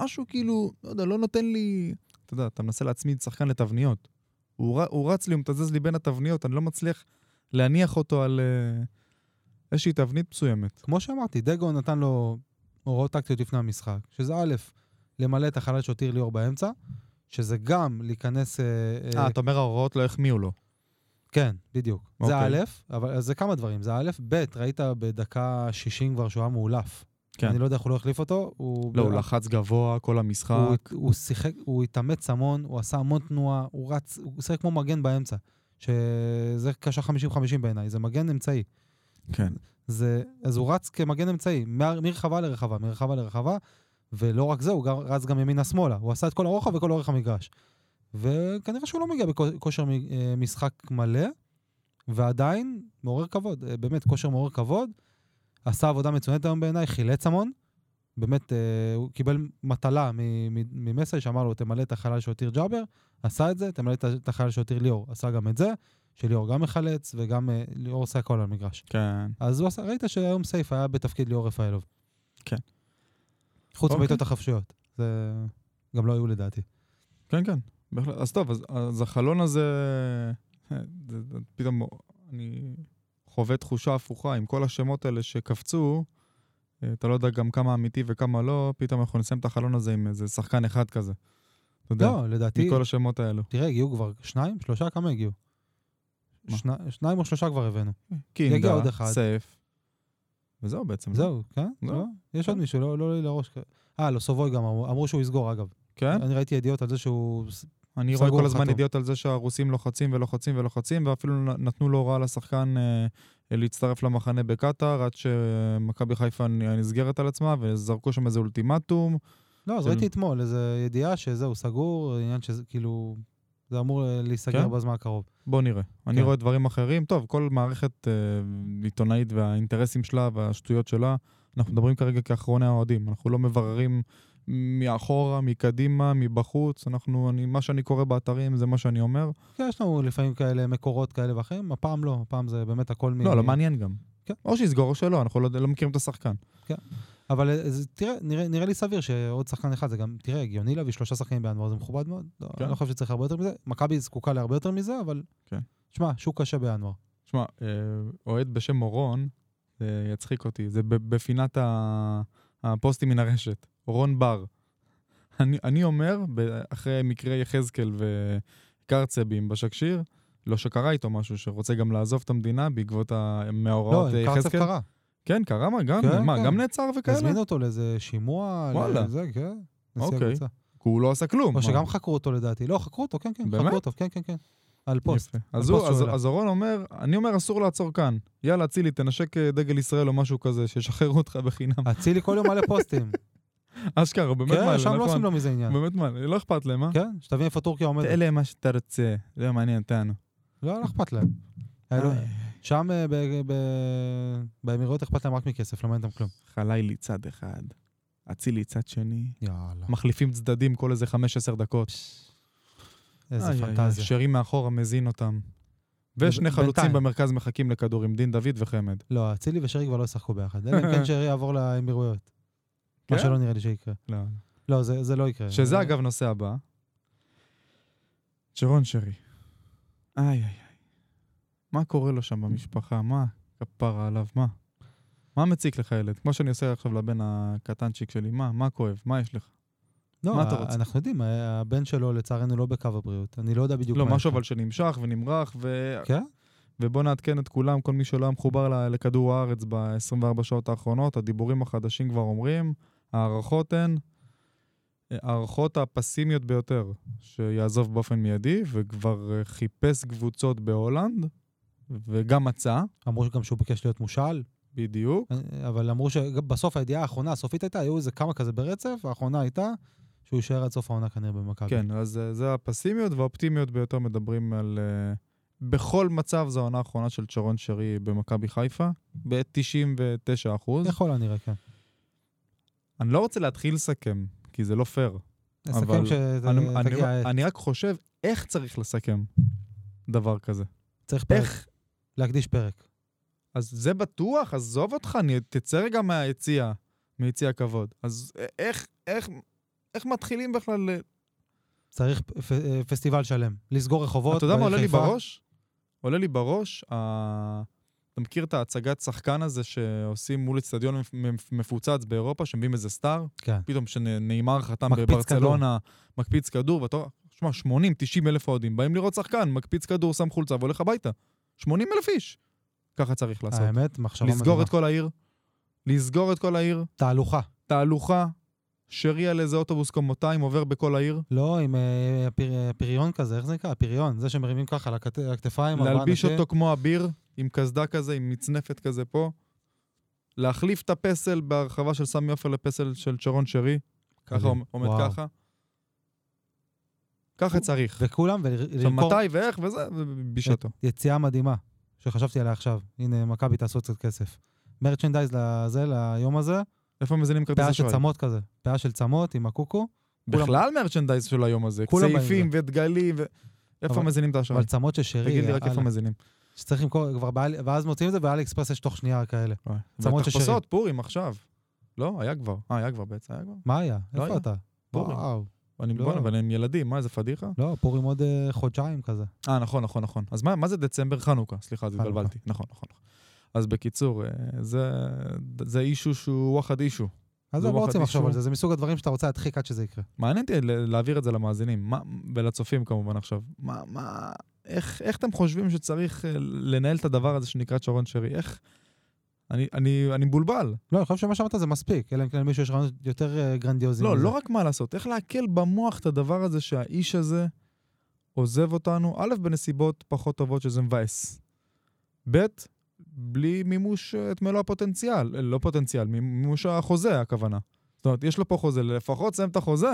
משהו כאילו, לא יודע, לא נותן לי... אתה יודע, אתה מנסה להצמיד שחקן לתבניות. הוא, ר- הוא רץ לי, הוא מתזז לי בין התבניות, אני לא מצליח להניח אותו על אה, איזושהי תבנית מסוימת.
כמו שאמרתי, דגו נתן לו הוראות טקטיות לפני המשחק, שזה א', למלא את החלל שהותיר ליאור באמצע, שזה גם להיכנס... אה,
אה, אתה אומר ההוראות לא החמיאו לו.
כן, בדיוק. זה
אוקיי.
א', אבל אז זה כמה דברים. זה א', ב', ראית בדקה 60 כבר שהוא היה מאולף.
כן.
אני לא יודע איך הוא לא החליף אותו. הוא
לא, הוא לחץ גבוה כל המשחק.
הוא, הוא שיחק, הוא התאמץ המון, הוא עשה המון תנועה, הוא רץ, הוא שיחק כמו מגן באמצע. שזה קשר 50-50 בעיניי, זה מגן אמצעי.
כן.
זה, אז הוא רץ כמגן אמצעי, מר- מרחבה לרחבה, מרחבה לרחבה, ולא רק זה, הוא גר, רץ גם ימינה-שמאלה. הוא עשה את כל הרוחב וכל אורך המגרש. וכנראה שהוא לא מגיע בכושר מ- אה, משחק מלא, ועדיין מעורר כבוד, אה, באמת כושר מעורר כבוד. עשה עבודה מצוינת היום בעיניי, חילץ המון. באמת, אה, הוא קיבל מטלה מ- מ- ממסי שאמר לו, תמלא את החלל שהותיר ג'אבר, עשה את זה, תמלא את ה- את החלל שהותיר ליאור, עשה גם את זה, שליאור גם מחלץ, וגם אה, ליאור עושה הכל על המגרש.
כן.
אז הוא עשה, ראית שהיום סייף היה בתפקיד ליאור רפאלוב.
כן.
חוץ
אוקיי.
מבעיטות החפשיות. זה גם לא היו לדעתי.
כן, כן. בהחלט. אז טוב, אז, אז החלון הזה... אה, זה- זה- פתאום אני חווה תחושה הפוכה עם כל השמות האלה שקפצו. אה, אתה לא יודע גם כמה אמיתי וכמה לא, פתאום אנחנו נסיים את החלון הזה עם איזה שחקן אחד כזה. אתה יודע,
לא, לדעתי,
מכל השמות האלו.
תראה, הגיעו כבר שניים, שלושה, כמה הגיעו?
מה?
שני- שניים או שלושה כבר הבאנו.
קינדה,
עוד אחד.
סייף. וזהו בעצם.
זהו, כן?
לא.
לא? יש עוד מישהו, לא לא לי לראש. כ- אה, לא, סובוי גם אמרו אמרו שהוא יסגור, אגב.
כן?
אני ראיתי ידיעות על זה שהוא...
אני רואה
סגור,
כל הזמן
חתום.
ידיעות על זה שהרוסים לוחצים ולוחצים ולוחצים, ואפילו נ- נתנו לו הוראה לשחקן אה, להצטרף למחנה בקטאר, עד שמכבי חיפה נ- נסגרת על עצמה, וזרקו שם איזה אולטימטום.
לא, אז
של-
ראיתי אתמול איזו ידיעה שזהו, סגור, עניין שזה כאילו... זה אמור אה, להיסגר
כן?
בזמן הקרוב.
בוא נראה. אני
כן.
רואה דברים אחרים. טוב, כל מערכת אה, עיתונאית והאינטרסים שלה והשטויות שלה, אנחנו מדברים כרגע כאחרוני האוהדים. אנחנו לא מבררים מאחורה, מקדימה, מבחוץ. אנחנו, אני, מה שאני קורא באתרים זה מה שאני אומר.
כן, יש לנו לפעמים כאלה מקורות כאלה ואחרים, הפעם לא, הפעם זה באמת הכל מ...
לא, לא מעניין גם.
כן.
או שיסגור או שלא, אנחנו לא, לא מכירים את השחקן.
אבל אה, זה, תראה, נראה, נראה לי סביר שעוד שחקן אחד, זה גם, תראה, הגיוני להביא שלושה שחקנים בינואר, זה מכובד מאוד. לא,
כן.
אני לא חושב שצריך הרבה יותר מזה. מכבי זקוקה להרבה יותר מזה, אבל...
כן.
שמע, שוק קשה בינואר.
שמע, אה, אוהד בשם מורון, זה יצחיק אותי, זה ב- בפינת ה- הפוסטים מן הרשת, רון בר. אני, אני אומר, ב- אחרי מקרה יחזקאל וקרצבים בשקשיר, לא שקרה איתו משהו, שרוצה גם לעזוב את המדינה בעקבות ה-
לא,
מההוראות
עם
אה,
קרצב
יחזקאל.
קרה.
כן, קרה מה? גם,
כן,
מה,
כן.
גם נעצר וכאלה?
הזמינו אותו לאיזה שימוע,
וואלה.
לזה, כן. נשיא
אוקיי.
הקבוצה.
כי הוא לא עשה כלום.
או
מה?
שגם חקרו אותו לדעתי. לא, חקרו אותו, כן, כן.
באמת?
חקרו אותו, כן, כן, כן. על פוסט.
יפה. אז,
על
הוא,
פוסט
אז,
שהוא
אז אורון אומר, אני אומר אסור לעצור כאן. יאללה, אצילי, תנשק אה, דגל ישראל או משהו כזה, שישחררו אותך בחינם.
אצילי כל יום מלא פוסטים.
אשכרה, הוא באמת מעלה,
כן, שם
נכון?
לא עושים לו מזה עניין.
באמת מה, לא אכפת להם, אה?
כן, שתבין איפה טורקיה עומדת.
מה שאתה רוצה, זה מעניין אותנו. לא,
לא, לא אכפת להם. היה לו- שם אה, ב- ב- באמירויות אכפת להם רק מכסף, לא מעניין אותם כלום.
חלילי צד אחד, אצילי צד שני.
יאללה.
מחליפים צדדים כל איזה 15 דקות.
איזה
איי, איי,
פנטזיה.
שרים מאחורה מזין אותם. ושני
בינתיים.
חלוצים במרכז מחכים לכדור עם דין דוד וחמד.
לא, אצילי ושרי כבר לא ישחקו ביחד. אלא אם כן שרי יעבור לאמירויות. מה
כן?
שלא נראה לי שיקרה.
לא.
לא, זה זה לא יקרה.
שזה אגב נושא הבא. שרון שרי. איי איי איי. מה קורה לו שם במשפחה? מה? כפרה עליו, מה? מה מציק לך ילד? כמו שאני עושה עכשיו לבן הקטנצ'יק שלי, מה? מה כואב? מה יש לך?
לא,
מה אתה רוצה?
אנחנו יודעים, ה- הבן שלו לצערנו לא בקו הבריאות. אני לא יודע בדיוק
לא,
מה
משהו
יש
אבל שנמשך ונמרח, ו...
כן?
ובוא נעדכן את כולם, כל מי שלא היה מחובר ל- לכדור הארץ ב-24 שעות האחרונות, הדיבורים החדשים כבר אומרים, ההערכות הן, אה, ההערכות הפסימיות ביותר, שיעזוב באופן מיידי, וכבר אה, חיפש קבוצות בהולנד, וגם מצא,
לו. אמרו שגם שהוא ביקש להיות מושאל,
בדיוק.
אה, אבל אמרו שבסוף הידיעה האחרונה, הסופית הייתה, היו איזה כמה כזה ברצף, האחרונה הייתה שהוא יישאר עד סוף העונה כנראה במכבי.
כן, אז אה, זה הפסימיות והאופטימיות ביותר מדברים על... אה, בכל מצב זו העונה האחרונה של צ'רון שרי במכבי חיפה, ב-99 אחוז.
יכול הנראה, כן.
אני לא רוצה להתחיל לסכם, כי זה לא פייר. אבל
נסכם
אני, אני,
שתגיע העת.
אני רק חושב איך צריך לסכם דבר כזה.
צריך פרק,
איך?
להקדיש פרק.
אז זה בטוח, עזוב אותך, אני, תצא רגע מהיציע, מיציע הכבוד. אז א- איך, איך, איך מתחילים בכלל... ל-
צריך פ- אה, פסטיבל שלם. לסגור רחובות.
אתה יודע מה
בעיר
עולה לי
חיפה.
בראש? עולה לי בראש, ה... אתה מכיר את ההצגת שחקן הזה שעושים מול אצטדיון מפ- מפ- מפוצץ באירופה, שמביאים איזה סטאר?
כן.
פתאום שנאמר חתם
מקפיץ
בברצלונה, מקפיץ כדור, ואתה שמע, 80, 90 אלף אוהדים, באים לראות שחקן, מקפיץ כדור, שם חולצה והולך הביתה. 80 אלף איש. ככה צריך לעשות.
האמת, לא מחשבה
לסגור
מדהימה.
את כל העיר, לסגור את כל העיר,
תהלוכה.
תהלוכה, שרי על איזה אוטובוס קומותיים עובר בכל העיר,
לא, עם אה, הפיר- הפריון כזה, איך זה נקרא? הפריון, זה שמרימים ככה לכת- לכתפיים. ארבעה
להלביש
אנשים.
אותו כמו אביר, עם קסדה כזה, עם מצנפת כזה פה, להחליף את הפסל בהרחבה של סמי עופר לפסל של שרון שרי, ככה
מדהים.
עומד
וואו.
ככה. ככה צריך.
וכולם,
עכשיו,
ולמכור
מתי ואיך וזה,
אה,
ובשעתו.
יציאה מדהימה, שחשבתי עליה עכשיו. הנה, מכבי תעשו קצת כסף. מרצ'נדייז לזה, ליום הזה,
איפה מזינים כרטיס
פאה של
אשראי?
צמות כזה. פאה של צמות עם הקוקו, כולם-
בכלל מרצ'נדייז של היום הזה,
כולם באים
צעיפים ודגלים, ו- איפה
אבל-
מזינים את האשראי?
אבל צמות של שרי.
תגיד לי רק איפה
על-
מזינים.
שצריך למכור, כבר בעל- ואז מוצאים את זה, באלי אקספרס יש תוך שנייה כאלה. צמות של
ותחפושות, פורים עכשיו. לא, היה כבר. אה, היה כבר בעצם, היה כבר.
מה היה?
לא
איפה
היה.
אתה?
פורים.
וואו.
אני
לא.
בוא'נה, אבל הם ילדים, מה, איזה פדיחה?
לא, פורים עוד אה, חודשיים כזה.
אה, נכון, נכון, נכון. אז מה מה זה דצמבר? חנוכה, סליחה, אז
חנוכה.
התבלבלתי. נכון, נכון. נכון. אז בקיצור, אה, זה- זה אישו שהוא וואחד אישו.
אז
זה
לא
וואחד
רוצים לחשוב
אישו.
על זה, זה מסוג הדברים שאתה רוצה להדחיק עד שזה יקרה.
מעניין אותי ל- להעביר את זה למאזינים, מה- ולצופים כמובן עכשיו. מה, מה, איך איך אתם חושבים שצריך אה, לנהל את הדבר הזה שנקרא שרון שרי? איך... אני- אני אני מבולבל.
לא, אני חושב שמה שאמרת זה מספיק, אלא אם כן למישהו יש רעיונות יותר אה, גרנדיוזיים.
לא,
מזה.
לא רק מה לעשות, איך לעכל במוח את הדבר הזה שהאיש הזה עוזב אותנו, א', בנסיבות פחות טובות שזה מבאס, ב', בלי מימוש אה, את מלוא הפוטנציאל, אה, לא פוטנציאל, מימוש החוזה הכוונה. זאת אומרת, יש לו פה חוזה, לפחות סיים את החוזה.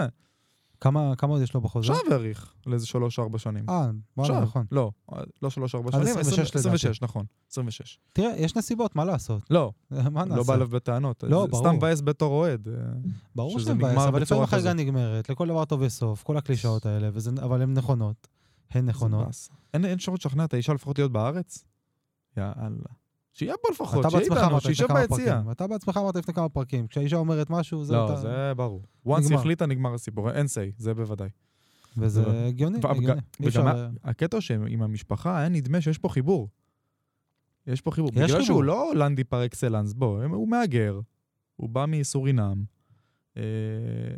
כמה כמה עוד יש לו בחוזה?
עכשיו האריך לאיזה שלוש-ארבע שנים.
אה,
עכשיו.
וואלה, נכון.
לא, אה, לא שלוש-ארבע
עד
שנים,
26
עשרים-
לדעתי.
26, נכון, 26.
תראה, יש נסיבות, מה לעשות?
לא,
מה
לא בא
נעשה?
אליו בטענות.
לא,
זה
ברור.
סתם מבאס בתור אוהד. אה,
ברור
שזה
שזה מבאס,
נגמר
אבל לפעמים
בצורה
החגיגה
כזאת.
נגמרת, לכל דבר טוב יש סוף, כל הקלישאות האלה, וזה- אבל הן נכונות. הן
זה נכון.
נכונות.
מבאס. אין אין אפשרות לשכנע את האישה לפחות להיות בארץ? יאללה. שיהיה פה לפחות,
אתה
שיהיה
בעצמך
איתנו,
אמרת
שישב
לפני כמה
ביציע.
פרקים. אתה בעצמך אמרת לפני כמה פרקים. כשהאישה אומרת משהו, זה...
לא,
אתה-
זה ברור. once היא
נגמר.
החליטה, נגמר הסיפור. אין say, זה בוודאי. זה לא.
וזה הגיוני,
וגם-
הגיוני. אי אפשר- אה,
וגם ה- הקטע שעם המשפחה, היה נדמה שיש פה חיבור. יש פה חיבור.
יש
בגלל
חיבור.
שהוא לא הולנדי פר אקסלנס, בוא, הם- הוא מהגר, הוא בא מסורינם. אה,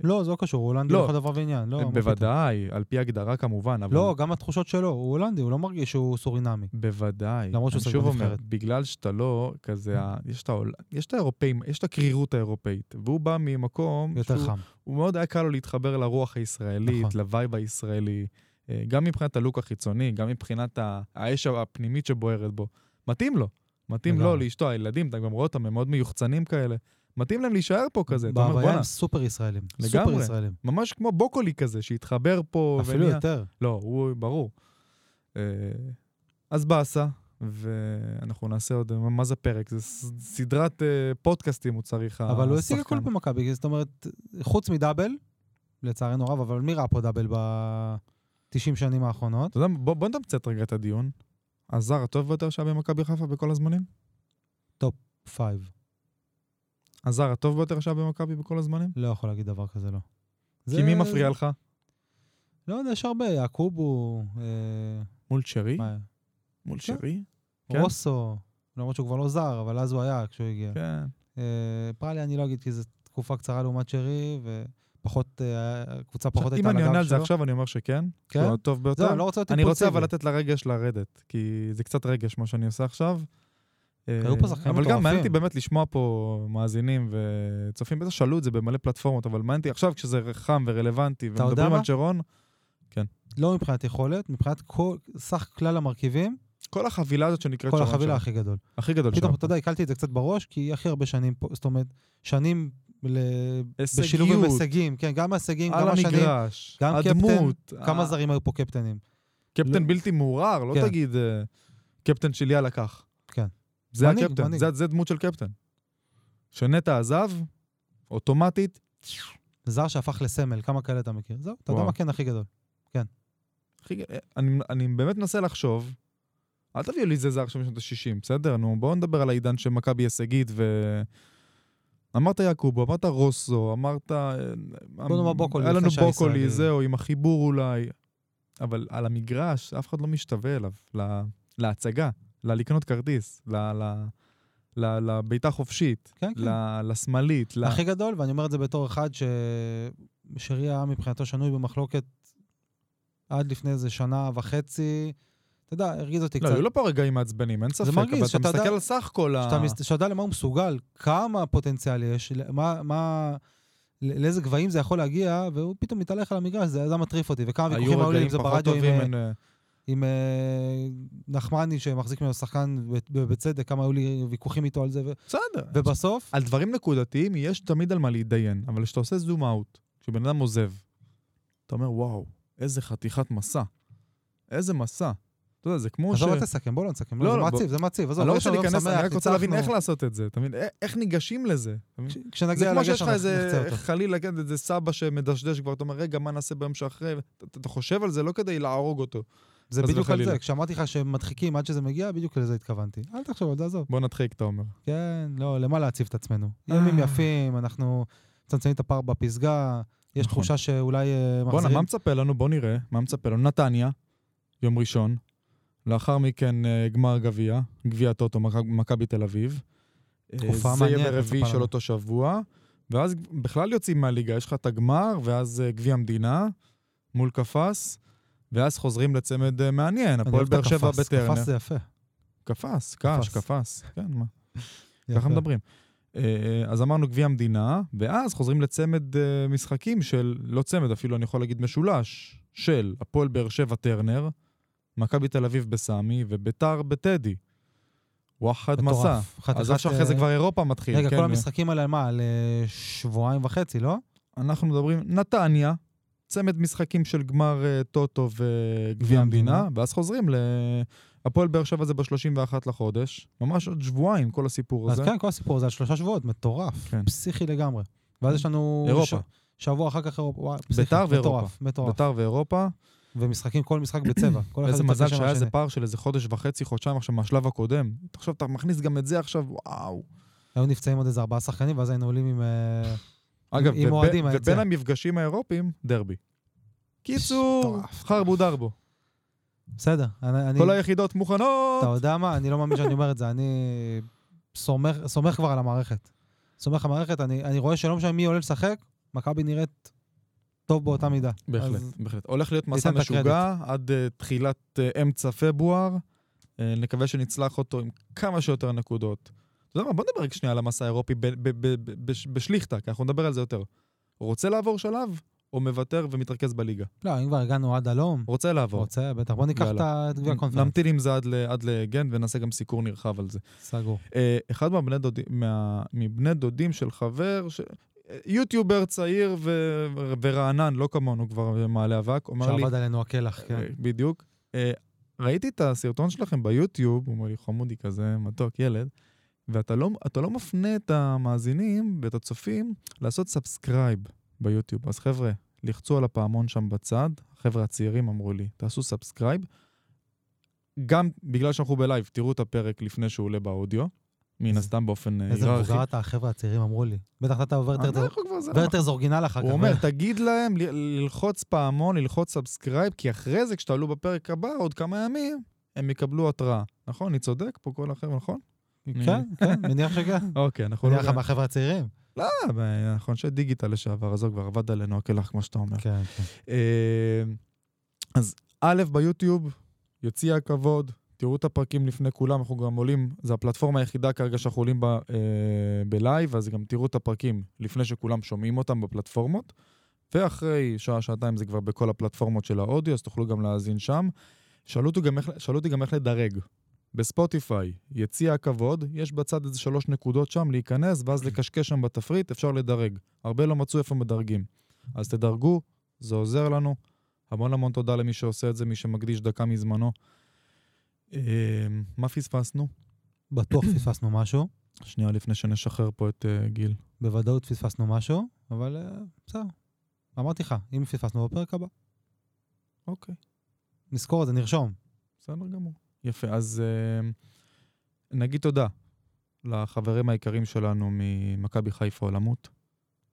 לא, זה לא קשור, הוא הולנדי
לא.
לכל דבר ועניין. לא, מה פתאום.
בוודאי, על פי הגדרה כמובן, אבל...
לא, גם התחושות שלו, הוא הולנדי, הוא לא מרגיש שהוא סורינמי.
בוודאי.
למרות שהוא
אני
שחק
שוב אומר,
בנבחרת.
בגלל שאתה לא כזה,
אה.
ה- יש את העול- יש את האירופאים, יש את הקרירות האירופאית, והוא בא ממקום
יותר
שהוא-
חם.
הוא מאוד היה קל לו להתחבר לרוח הישראלית,
נכון.
לווייב הישראלי, אה, גם מבחינת הלוק החיצוני, גם מבחינת ה- האש הפנימית שבוערת בו. מתאים לו. מתאים לו,
לגמרי.
לאשתו, הילדים, אתה גם רואה אותם, הם מאוד מיוחצנים כאלה. מתאים להם להישאר פה כזה, אתה אומר,
בהוויה
בואנה,
הם סופר ישראלים.
לגמרי.
סופר ישראלים.
ממש כמו בוקולי כזה, שהתחבר פה.
אפילו
ונהיה-
יותר.
לא, הוא ברור. אה, אז באסה, ואנחנו נעשה עוד, מה זה פרק? זה ס- סדרת אה, פודקאסטים הוא צריך,
אבל הוא השיג הכול
השחקן.
במכבי, זאת אומרת, חוץ מדאבל, לצערנו הרב, אבל מי ראה פה דאבל ב-90 שנים האחרונות?
אתה יודע, בוא, בוא נתמצת רגע את הדיון. הזר הטוב ביותר שהיה במכבי חיפה בכל הזמנים?
פייב.
הזר הטוב ביותר שהיה במכבי בכל הזמנים?
לא יכול להגיד דבר כזה, לא.
זה...
זה-
כי מי מפריע לך?
לא יודע, יש הרבה, יעקובו, אה,
מול שרי?
מה,
מול
כן.
שרי? כן.
רוסו, למרות שהוא כבר לא זר, אבל אז הוא היה כשהוא הגיע.
כן.
אה, פרלי אני לא אגיד, כי זו תקופה קצרה לעומת שרי, ופחות, אה, הקבוצה פחות
עכשיו,
הייתה
אם
על הגב שלו.
אני עונה על זה עכשיו, אני אומר שכן.
כן?
הוא הטוב
זהו,
ביותר.
אני לא רוצה להיות
אני רוצה אבל
אימפולסיבי.
לתת לרגש לרדת, כי זה קצת רגש מה שאני עושה עכשיו. אה,
היו פה שחקנים
אבל גם
מטורפים.
מעניין אותי באמת לשמוע פה מאזינים וצופים, בטח שאלו את זה במלא פלטפורמות, אבל מעניין אותי עכשיו כשזה חם ורלוונטי,
יודע
ומדברים
מה?
על צ'רון,
לא מבחינת יכולת, מבחינת כל, סך כלל המרכיבים,
כל החבילה הזאת שנקראת
כל
צ'רון
החבילה
שם.
הכי גדול.
הכי גדול שם.
פתאום, אתה יודע, הקלתי את זה קצת בראש, כי הכי הרבה שנים פה, זאת אומרת, שנים ל... בשילוב עם
הישגיות,
הישגים, כן, גם הישגים,
על
גם השנים,
המגרש, אה.
גם קפטן,
הדמות,
כמה
ה-
זרים היו פה קפטנים.
קפטן
לא-
בלתי מעורער, לא
כן.
תגיד אה, קפטן שלי על לקח.
כן.
זה
מנהיג,
הקפטן,
מנהיג.
זה- זה דמות של קפטן. שנטע עזב, אוטומטית,
זר שהפך לסמל, כמה כאלה אתה מכיר? זהו, אתה יודע
וואו.
מה כן הכי גדול.
הכי- אני, אני באמת מנסה לחשוב, אל תביאו לי איזה זר שם בשנות ה-60, בסדר? נו, בואו נדבר על העידן של מכבי הישגית ו... אמרת יעקובו, אמרת רוסו, אמרת... אה,
בוא נאמר בוקולי,
היה לנו
לפני שהיה
בוקולי,
ישראלי.
זהו, עם החיבור אולי. אבל על המגרש, אף אחד לא משתווה אליו, לה, להצגה, ללקנות כרטיס, ל- ל- ל- לבעיטה חופשית,
כן, כן.
ל- לשמאלית, ל-
הכי גדול, ואני אומר את זה בתור אחד ש... שרי היה מבחינתו שנוי במחלוקת עד לפני איזה שנה וחצי, אתה יודע, הרגיז אותי
לא,
קצת.
היו לו פה רגעים מעצבנים, אין ספק,
מרגיז,
אבל אתה
שאתה
מסתכל
יודע-
על סך כל ה...
שאתה מס- שאתה יודע למה הוא מסוגל, כמה פוטנציאל יש, ל- מה, מה, ל- לאיזה גבהים זה יכול להגיע, והוא פתאום מתהלך על המגרש, זה זה מטריף אותי. וכמה ויכוחים
היו
היו לי
רגעים
עם זה
פחות
ברדיו, עם,
טובים,
אה,
אין, אה,
עם אה, נחמני שמחזיק ממנו שחקן ב- בצדק, כמה היו לי ויכוחים איתו על זה, ו-
בסדר.
ובסוף,
על דברים נקודתיים יש תמיד על מה להתדיין, אבל כשאתה עושה זום אאוט, כשבן אדם עוזב, אתה אומר, וואו, איזה חתיכת מסע. איזה מסע. אתה יודע, זה כמו ש...
עזוב, אל תסכם, בוא לא נסכם,
לא,
לא, זה
לא,
מעציב, זה מעציב, עזוב,
אני לא
יש
רוצה
לנו יום
להיכנס, אני
שמח,
רק רוצה להבין איך
ניצחנו.
לעשות את זה, אתה מבין? א- איך ניגשים לזה? אתה מבין?
כש-
זה
כשנגיע
כמו שיש
לגשר,
לך
אנחנו נחצה
איזה
אותו.
חלילה, כן, איזה סבא שמדשדש כבר, אתה אומר, רגע, מה נעשה ביום שאחרי? אתה- אתה אתה חושב על זה לא כדי להרוג אותו.
זה
חס
בדיוק על
וחלילה.
זה, כשאמרתי לך שמדחיקים עד שזה מגיע, בדיוק לזה התכוונתי. אל תחשוב על זה, עזוב.
בוא נדחיק, אתה אומר.
כן, לא, למה להציב את עצמנו?
אה.
ימים יפים, אנחנו מצמצמים את הפער בפסגה, יש
נכון.
תחושה שאולי אה,
בואנה, מה
מחזירים...
מצפה לנו? בוא נראה. מה מצפה לנו? נתניה, יום ראשון. לאחר מכן אה, גמר גביע, גביע טוטו, מכ- מכבי תל אביב. אה,
תקופה
זה
מעניינת
יהיה ברביעי
מצפה
של
לנו.
אותו שבוע. ואז בכלל יוצאים מהליגה, יש לך את הגמר, ואז אה, גביע המדינה מול קפס, ואז חוזרים לצמד אה, מעניין,
אני
הפועל
אוהב את
באר שבע
הקפס,
בטרנר.
קפס זה יפה.
קפס, קש,
קפס.
קפס, כן, מה,
יפה.
ככה מדברים. אה, אז אמרנו גביע המדינה, ואז חוזרים לצמד אה, משחקים של, לא צמד, אפילו אני יכול להגיד משולש, של הפועל באר שבע טרנר, מכבי תל אביב בסמי וביתר בטדי. וואחד
מטורף.
מסע.
חתיכת,
אז עכשיו אחרי זה
אה,
כבר אירופה מתחיל.
רגע,
כן,
כל המשחקים האלה, על מה? על אה, שבועיים וחצי, לא?
אנחנו מדברים, נתניה, צמד משחקים של גמר אה, טוטו וגביע
גביע המדינה.
המדינה, ואז חוזרים ל... הפועל באר שבע זה ב-31 לחודש, ממש עוד שבועיים כל הסיפור
אז
הזה.
כן, כל הסיפור הזה על שלושה שבועות, מטורף.
כן.
פסיכי לגמרי. ואז יש לנו...
אירופה.
ש- שבוע אחר כך אירופה. וואי, פסיכי,
בית"ר ואירופה.
מטורף, מטורף.
ביתר ואירופה,
ומשחקים, כל משחק בצבע. כל אחד
איזה
מתלבש
מזל
על
שהיה איזה
השני.
פער של איזה חודש וחצי, חודשיים עכשיו מהשלב הקודם. תחשוב, אתה מכניס גם את זה עכשיו, וואו.
היו נפצעים עוד איזה ארבעה שחקנים, ואז היינו עולים עם... אה,
אגב,
עם
וב-
אוהדים היה
ובין
יוצא.
המפגשים האירופיים, דרבי. קיצור,
מטורף,
חרבו דרבו.
בסדר, אני... אני-
כל היחידות מוכנות.
אתה יודע מה? אני לא מאמין שאני אומר את זה, אני סומך, סומך כבר על המערכת. סומך על המערכת, אני, אני רואה שלא משנה מי עולה לשחק, מכבי נראית טוב באותה מידה.
בהחלט,
אז
בהחלט. הולך להיות מסע
ניתן את
משוגע עד אה, תחילת אה, אמצע פברואר. אה, נקווה שנצלח אותו עם כמה שיותר נקודות. אתה יודע מה, בוא נדבר רק שנייה על המסע האירופי ב- ב- ב- ב- בש- בשליכטה, כי אנחנו נדבר על זה יותר. רוצה לעבור שלב, או מוותר ומתרכז בליגה?
לא, אם כבר הגענו עד הלום,
רוצה לעבור.
רוצה, בטח, בוא לא, ניקח את ה- את גביע הקונפרנס.
נמתין עם זה עד ל- עד לגן ונעשה גם סיקור נרחב על זה.
סגור.
אה, אחד מהבני דודים, מה, מבני דודים של חבר, ש... אה, יוטיובר צעיר ו... ורענן, לא כמונו כבר אה, מעלה אבק, אומר לי,
שעבד עלינו הקלח, כן.
אה, בדיוק, אה, ראיתי את הסרטון שלכם ביוטיוב, הוא אומר לי, חמודי כזה, מתוק, ילד, ואתה לא, אתה לא מפנה את המאזינים ואת הצופים לעשות סאבסקרייב ביוטיוב. אז חבר'ה, לחצו על הפעמון שם בצד, החבר'ה הצעירים אמרו לי, תעשו סאבסקרייב. גם בגלל שאנחנו בלייב, תראו את הפרק לפני שהוא עולה באודיו, מן
איזה-
הסתם באופן אה,
איזה
היררכי. אה,
מבוגר אתה, החבר'ה הצעירים אמרו לי. בטח אתה עובר יותר-
אנחנו כבר זה...
עובר יותר זורגינל אחר כך. אה.
הוא אומר, תגיד להם ל- ללחוץ פעמון, ללחוץ סאבסקרייב, כי אחרי זה, כשתעלו בפרק הבא, עוד כמה ימים, הם יקבלו התראה. נכון? אני צודק? פה כל החבר'ה, נכון?
כן, כן, מניח שכן.
אוקיי, אנחנו לא...
מניח לך מהחבר'ה הצעירים.
אה, ב- אנחנו אנשי דיגיטל לשעבר, אז הוא כבר עבד עלינו הקלח, כמו שאתה אומר.
כן, כן.
אה, אז א', ביוטיוב, יציע הכבוד, תראו את הפרקים לפני כולם, אנחנו גם עולים, זו הפלטפורמה היחידה כרגע שאנחנו עולים בה אה, בלייב, אז גם תראו את הפרקים לפני שכולם שומעים אותם בפלטפורמות, ואחרי שעה, שעתיים זה כבר בכל הפלטפורמות של האודיו, אז תוכלו גם להאזין שם. שאלו אותי גם איך, שאלו אותי גם איך לדרג. בספוטיפיי, יציע הכבוד, יש בצד איזה שלוש נקודות שם, להיכנס, ואז לקשקש שם בתפריט, אפשר לדרג. הרבה לא מצאו איפה מדרגים. אז תדרגו, זה עוזר לנו. המון המון תודה למי שעושה את זה, מי שמקדיש דקה מזמנו. אמ, מה פספסנו?
בטוח פספסנו משהו,
שנייה לפני שנשחרר פה את אה, גיל.
בוודאות פספסנו משהו, אבל אה, בסדר. אמרתי לך, אם פספסנו בפרק הבא.
אוקיי,
נזכור את זה, נרשום.
בסדר גמור. יפה, אז אמ, נגיד תודה לחברים היקרים שלנו ממכבי חיפה עולמות,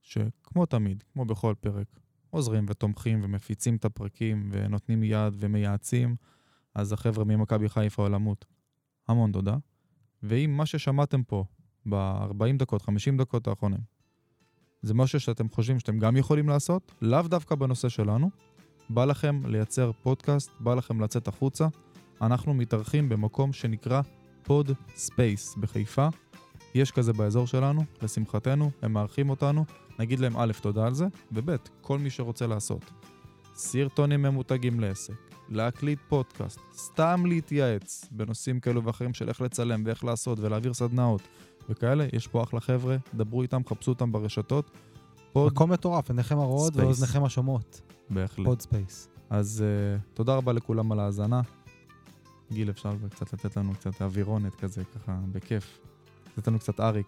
שכמו תמיד, כמו בכל פרק, עוזרים ותומכים ומפיצים את הפרקים ונותנים יד ומייעצים. אז החבר'ה ממכבי חיפה עולמות, המון תודה. ואם מה ששמעתם פה ב-40 דקות, 50 דקות האחרונים, זה משהו שאתם חושבים שאתם גם יכולים לעשות, לאו דווקא בנושא שלנו, בא לכם לייצר פודקאסט, בא לכם לצאת החוצה, אנחנו מתארחים במקום שנקרא פוד ספייס בחיפה. יש כזה באזור שלנו, לשמחתנו, הם מארחים אותנו, נגיד להם א', תודה על זה, וב', כל מי שרוצה לעשות. סרטונים ממותגים לעסק, להקליט פודקאסט, סתם להתייעץ בנושאים כאלו ואחרים של איך לצלם ואיך לעשות ולהעביר סדנאות וכאלה, יש פה אחלה חבר'ה, דברו איתם, חפשו אותם ברשתות. פוד,
מקום מטורף, עיניכם הרואות
ספייס.
ואוזניכם השומעות.
בהחלט.
פוד ספייס.
אז uh, תודה רבה לכולם על ההאזנה. גיל, אפשר קצת לתת לנו קצת אווירונת כזה, ככה, בכיף. לתת לנו קצת אריק.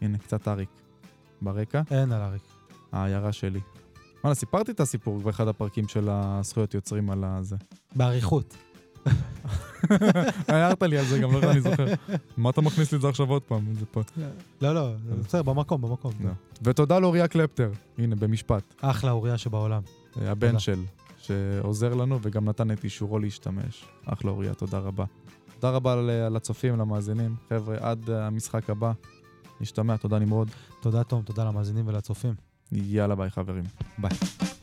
הנה, קצת אריק. ברקע,
אין על אריק.
העיירה שלי. וואלה, סיפרתי את הסיפור באחד הפרקים של הזכויות יוצרים על הזה.
באריכות.
הערת לי על זה גם, לא יודע, אני זוכר. מה אתה מכניס לי את זה עכשיו עוד פעם? זה פה.
לא, לא, בסדר, במקום, במקום.
לא. ותודה לאוריה קלפטר, הנה, במשפט.
אחלה אוריה שבעולם.
אה, הבן
תודה.
של, שעוזר לנו וגם נתן את אישורו להשתמש. אחלה אוריה, תודה רבה. תודה רבה ל- על הצופים, למאזינים. חבר'ה, עד המשחק הבא. נשתמע, תודה נמרוד.
תודה, תום, תודה למאזינים ולצופים.
יאללה ביי חברים.
ביי.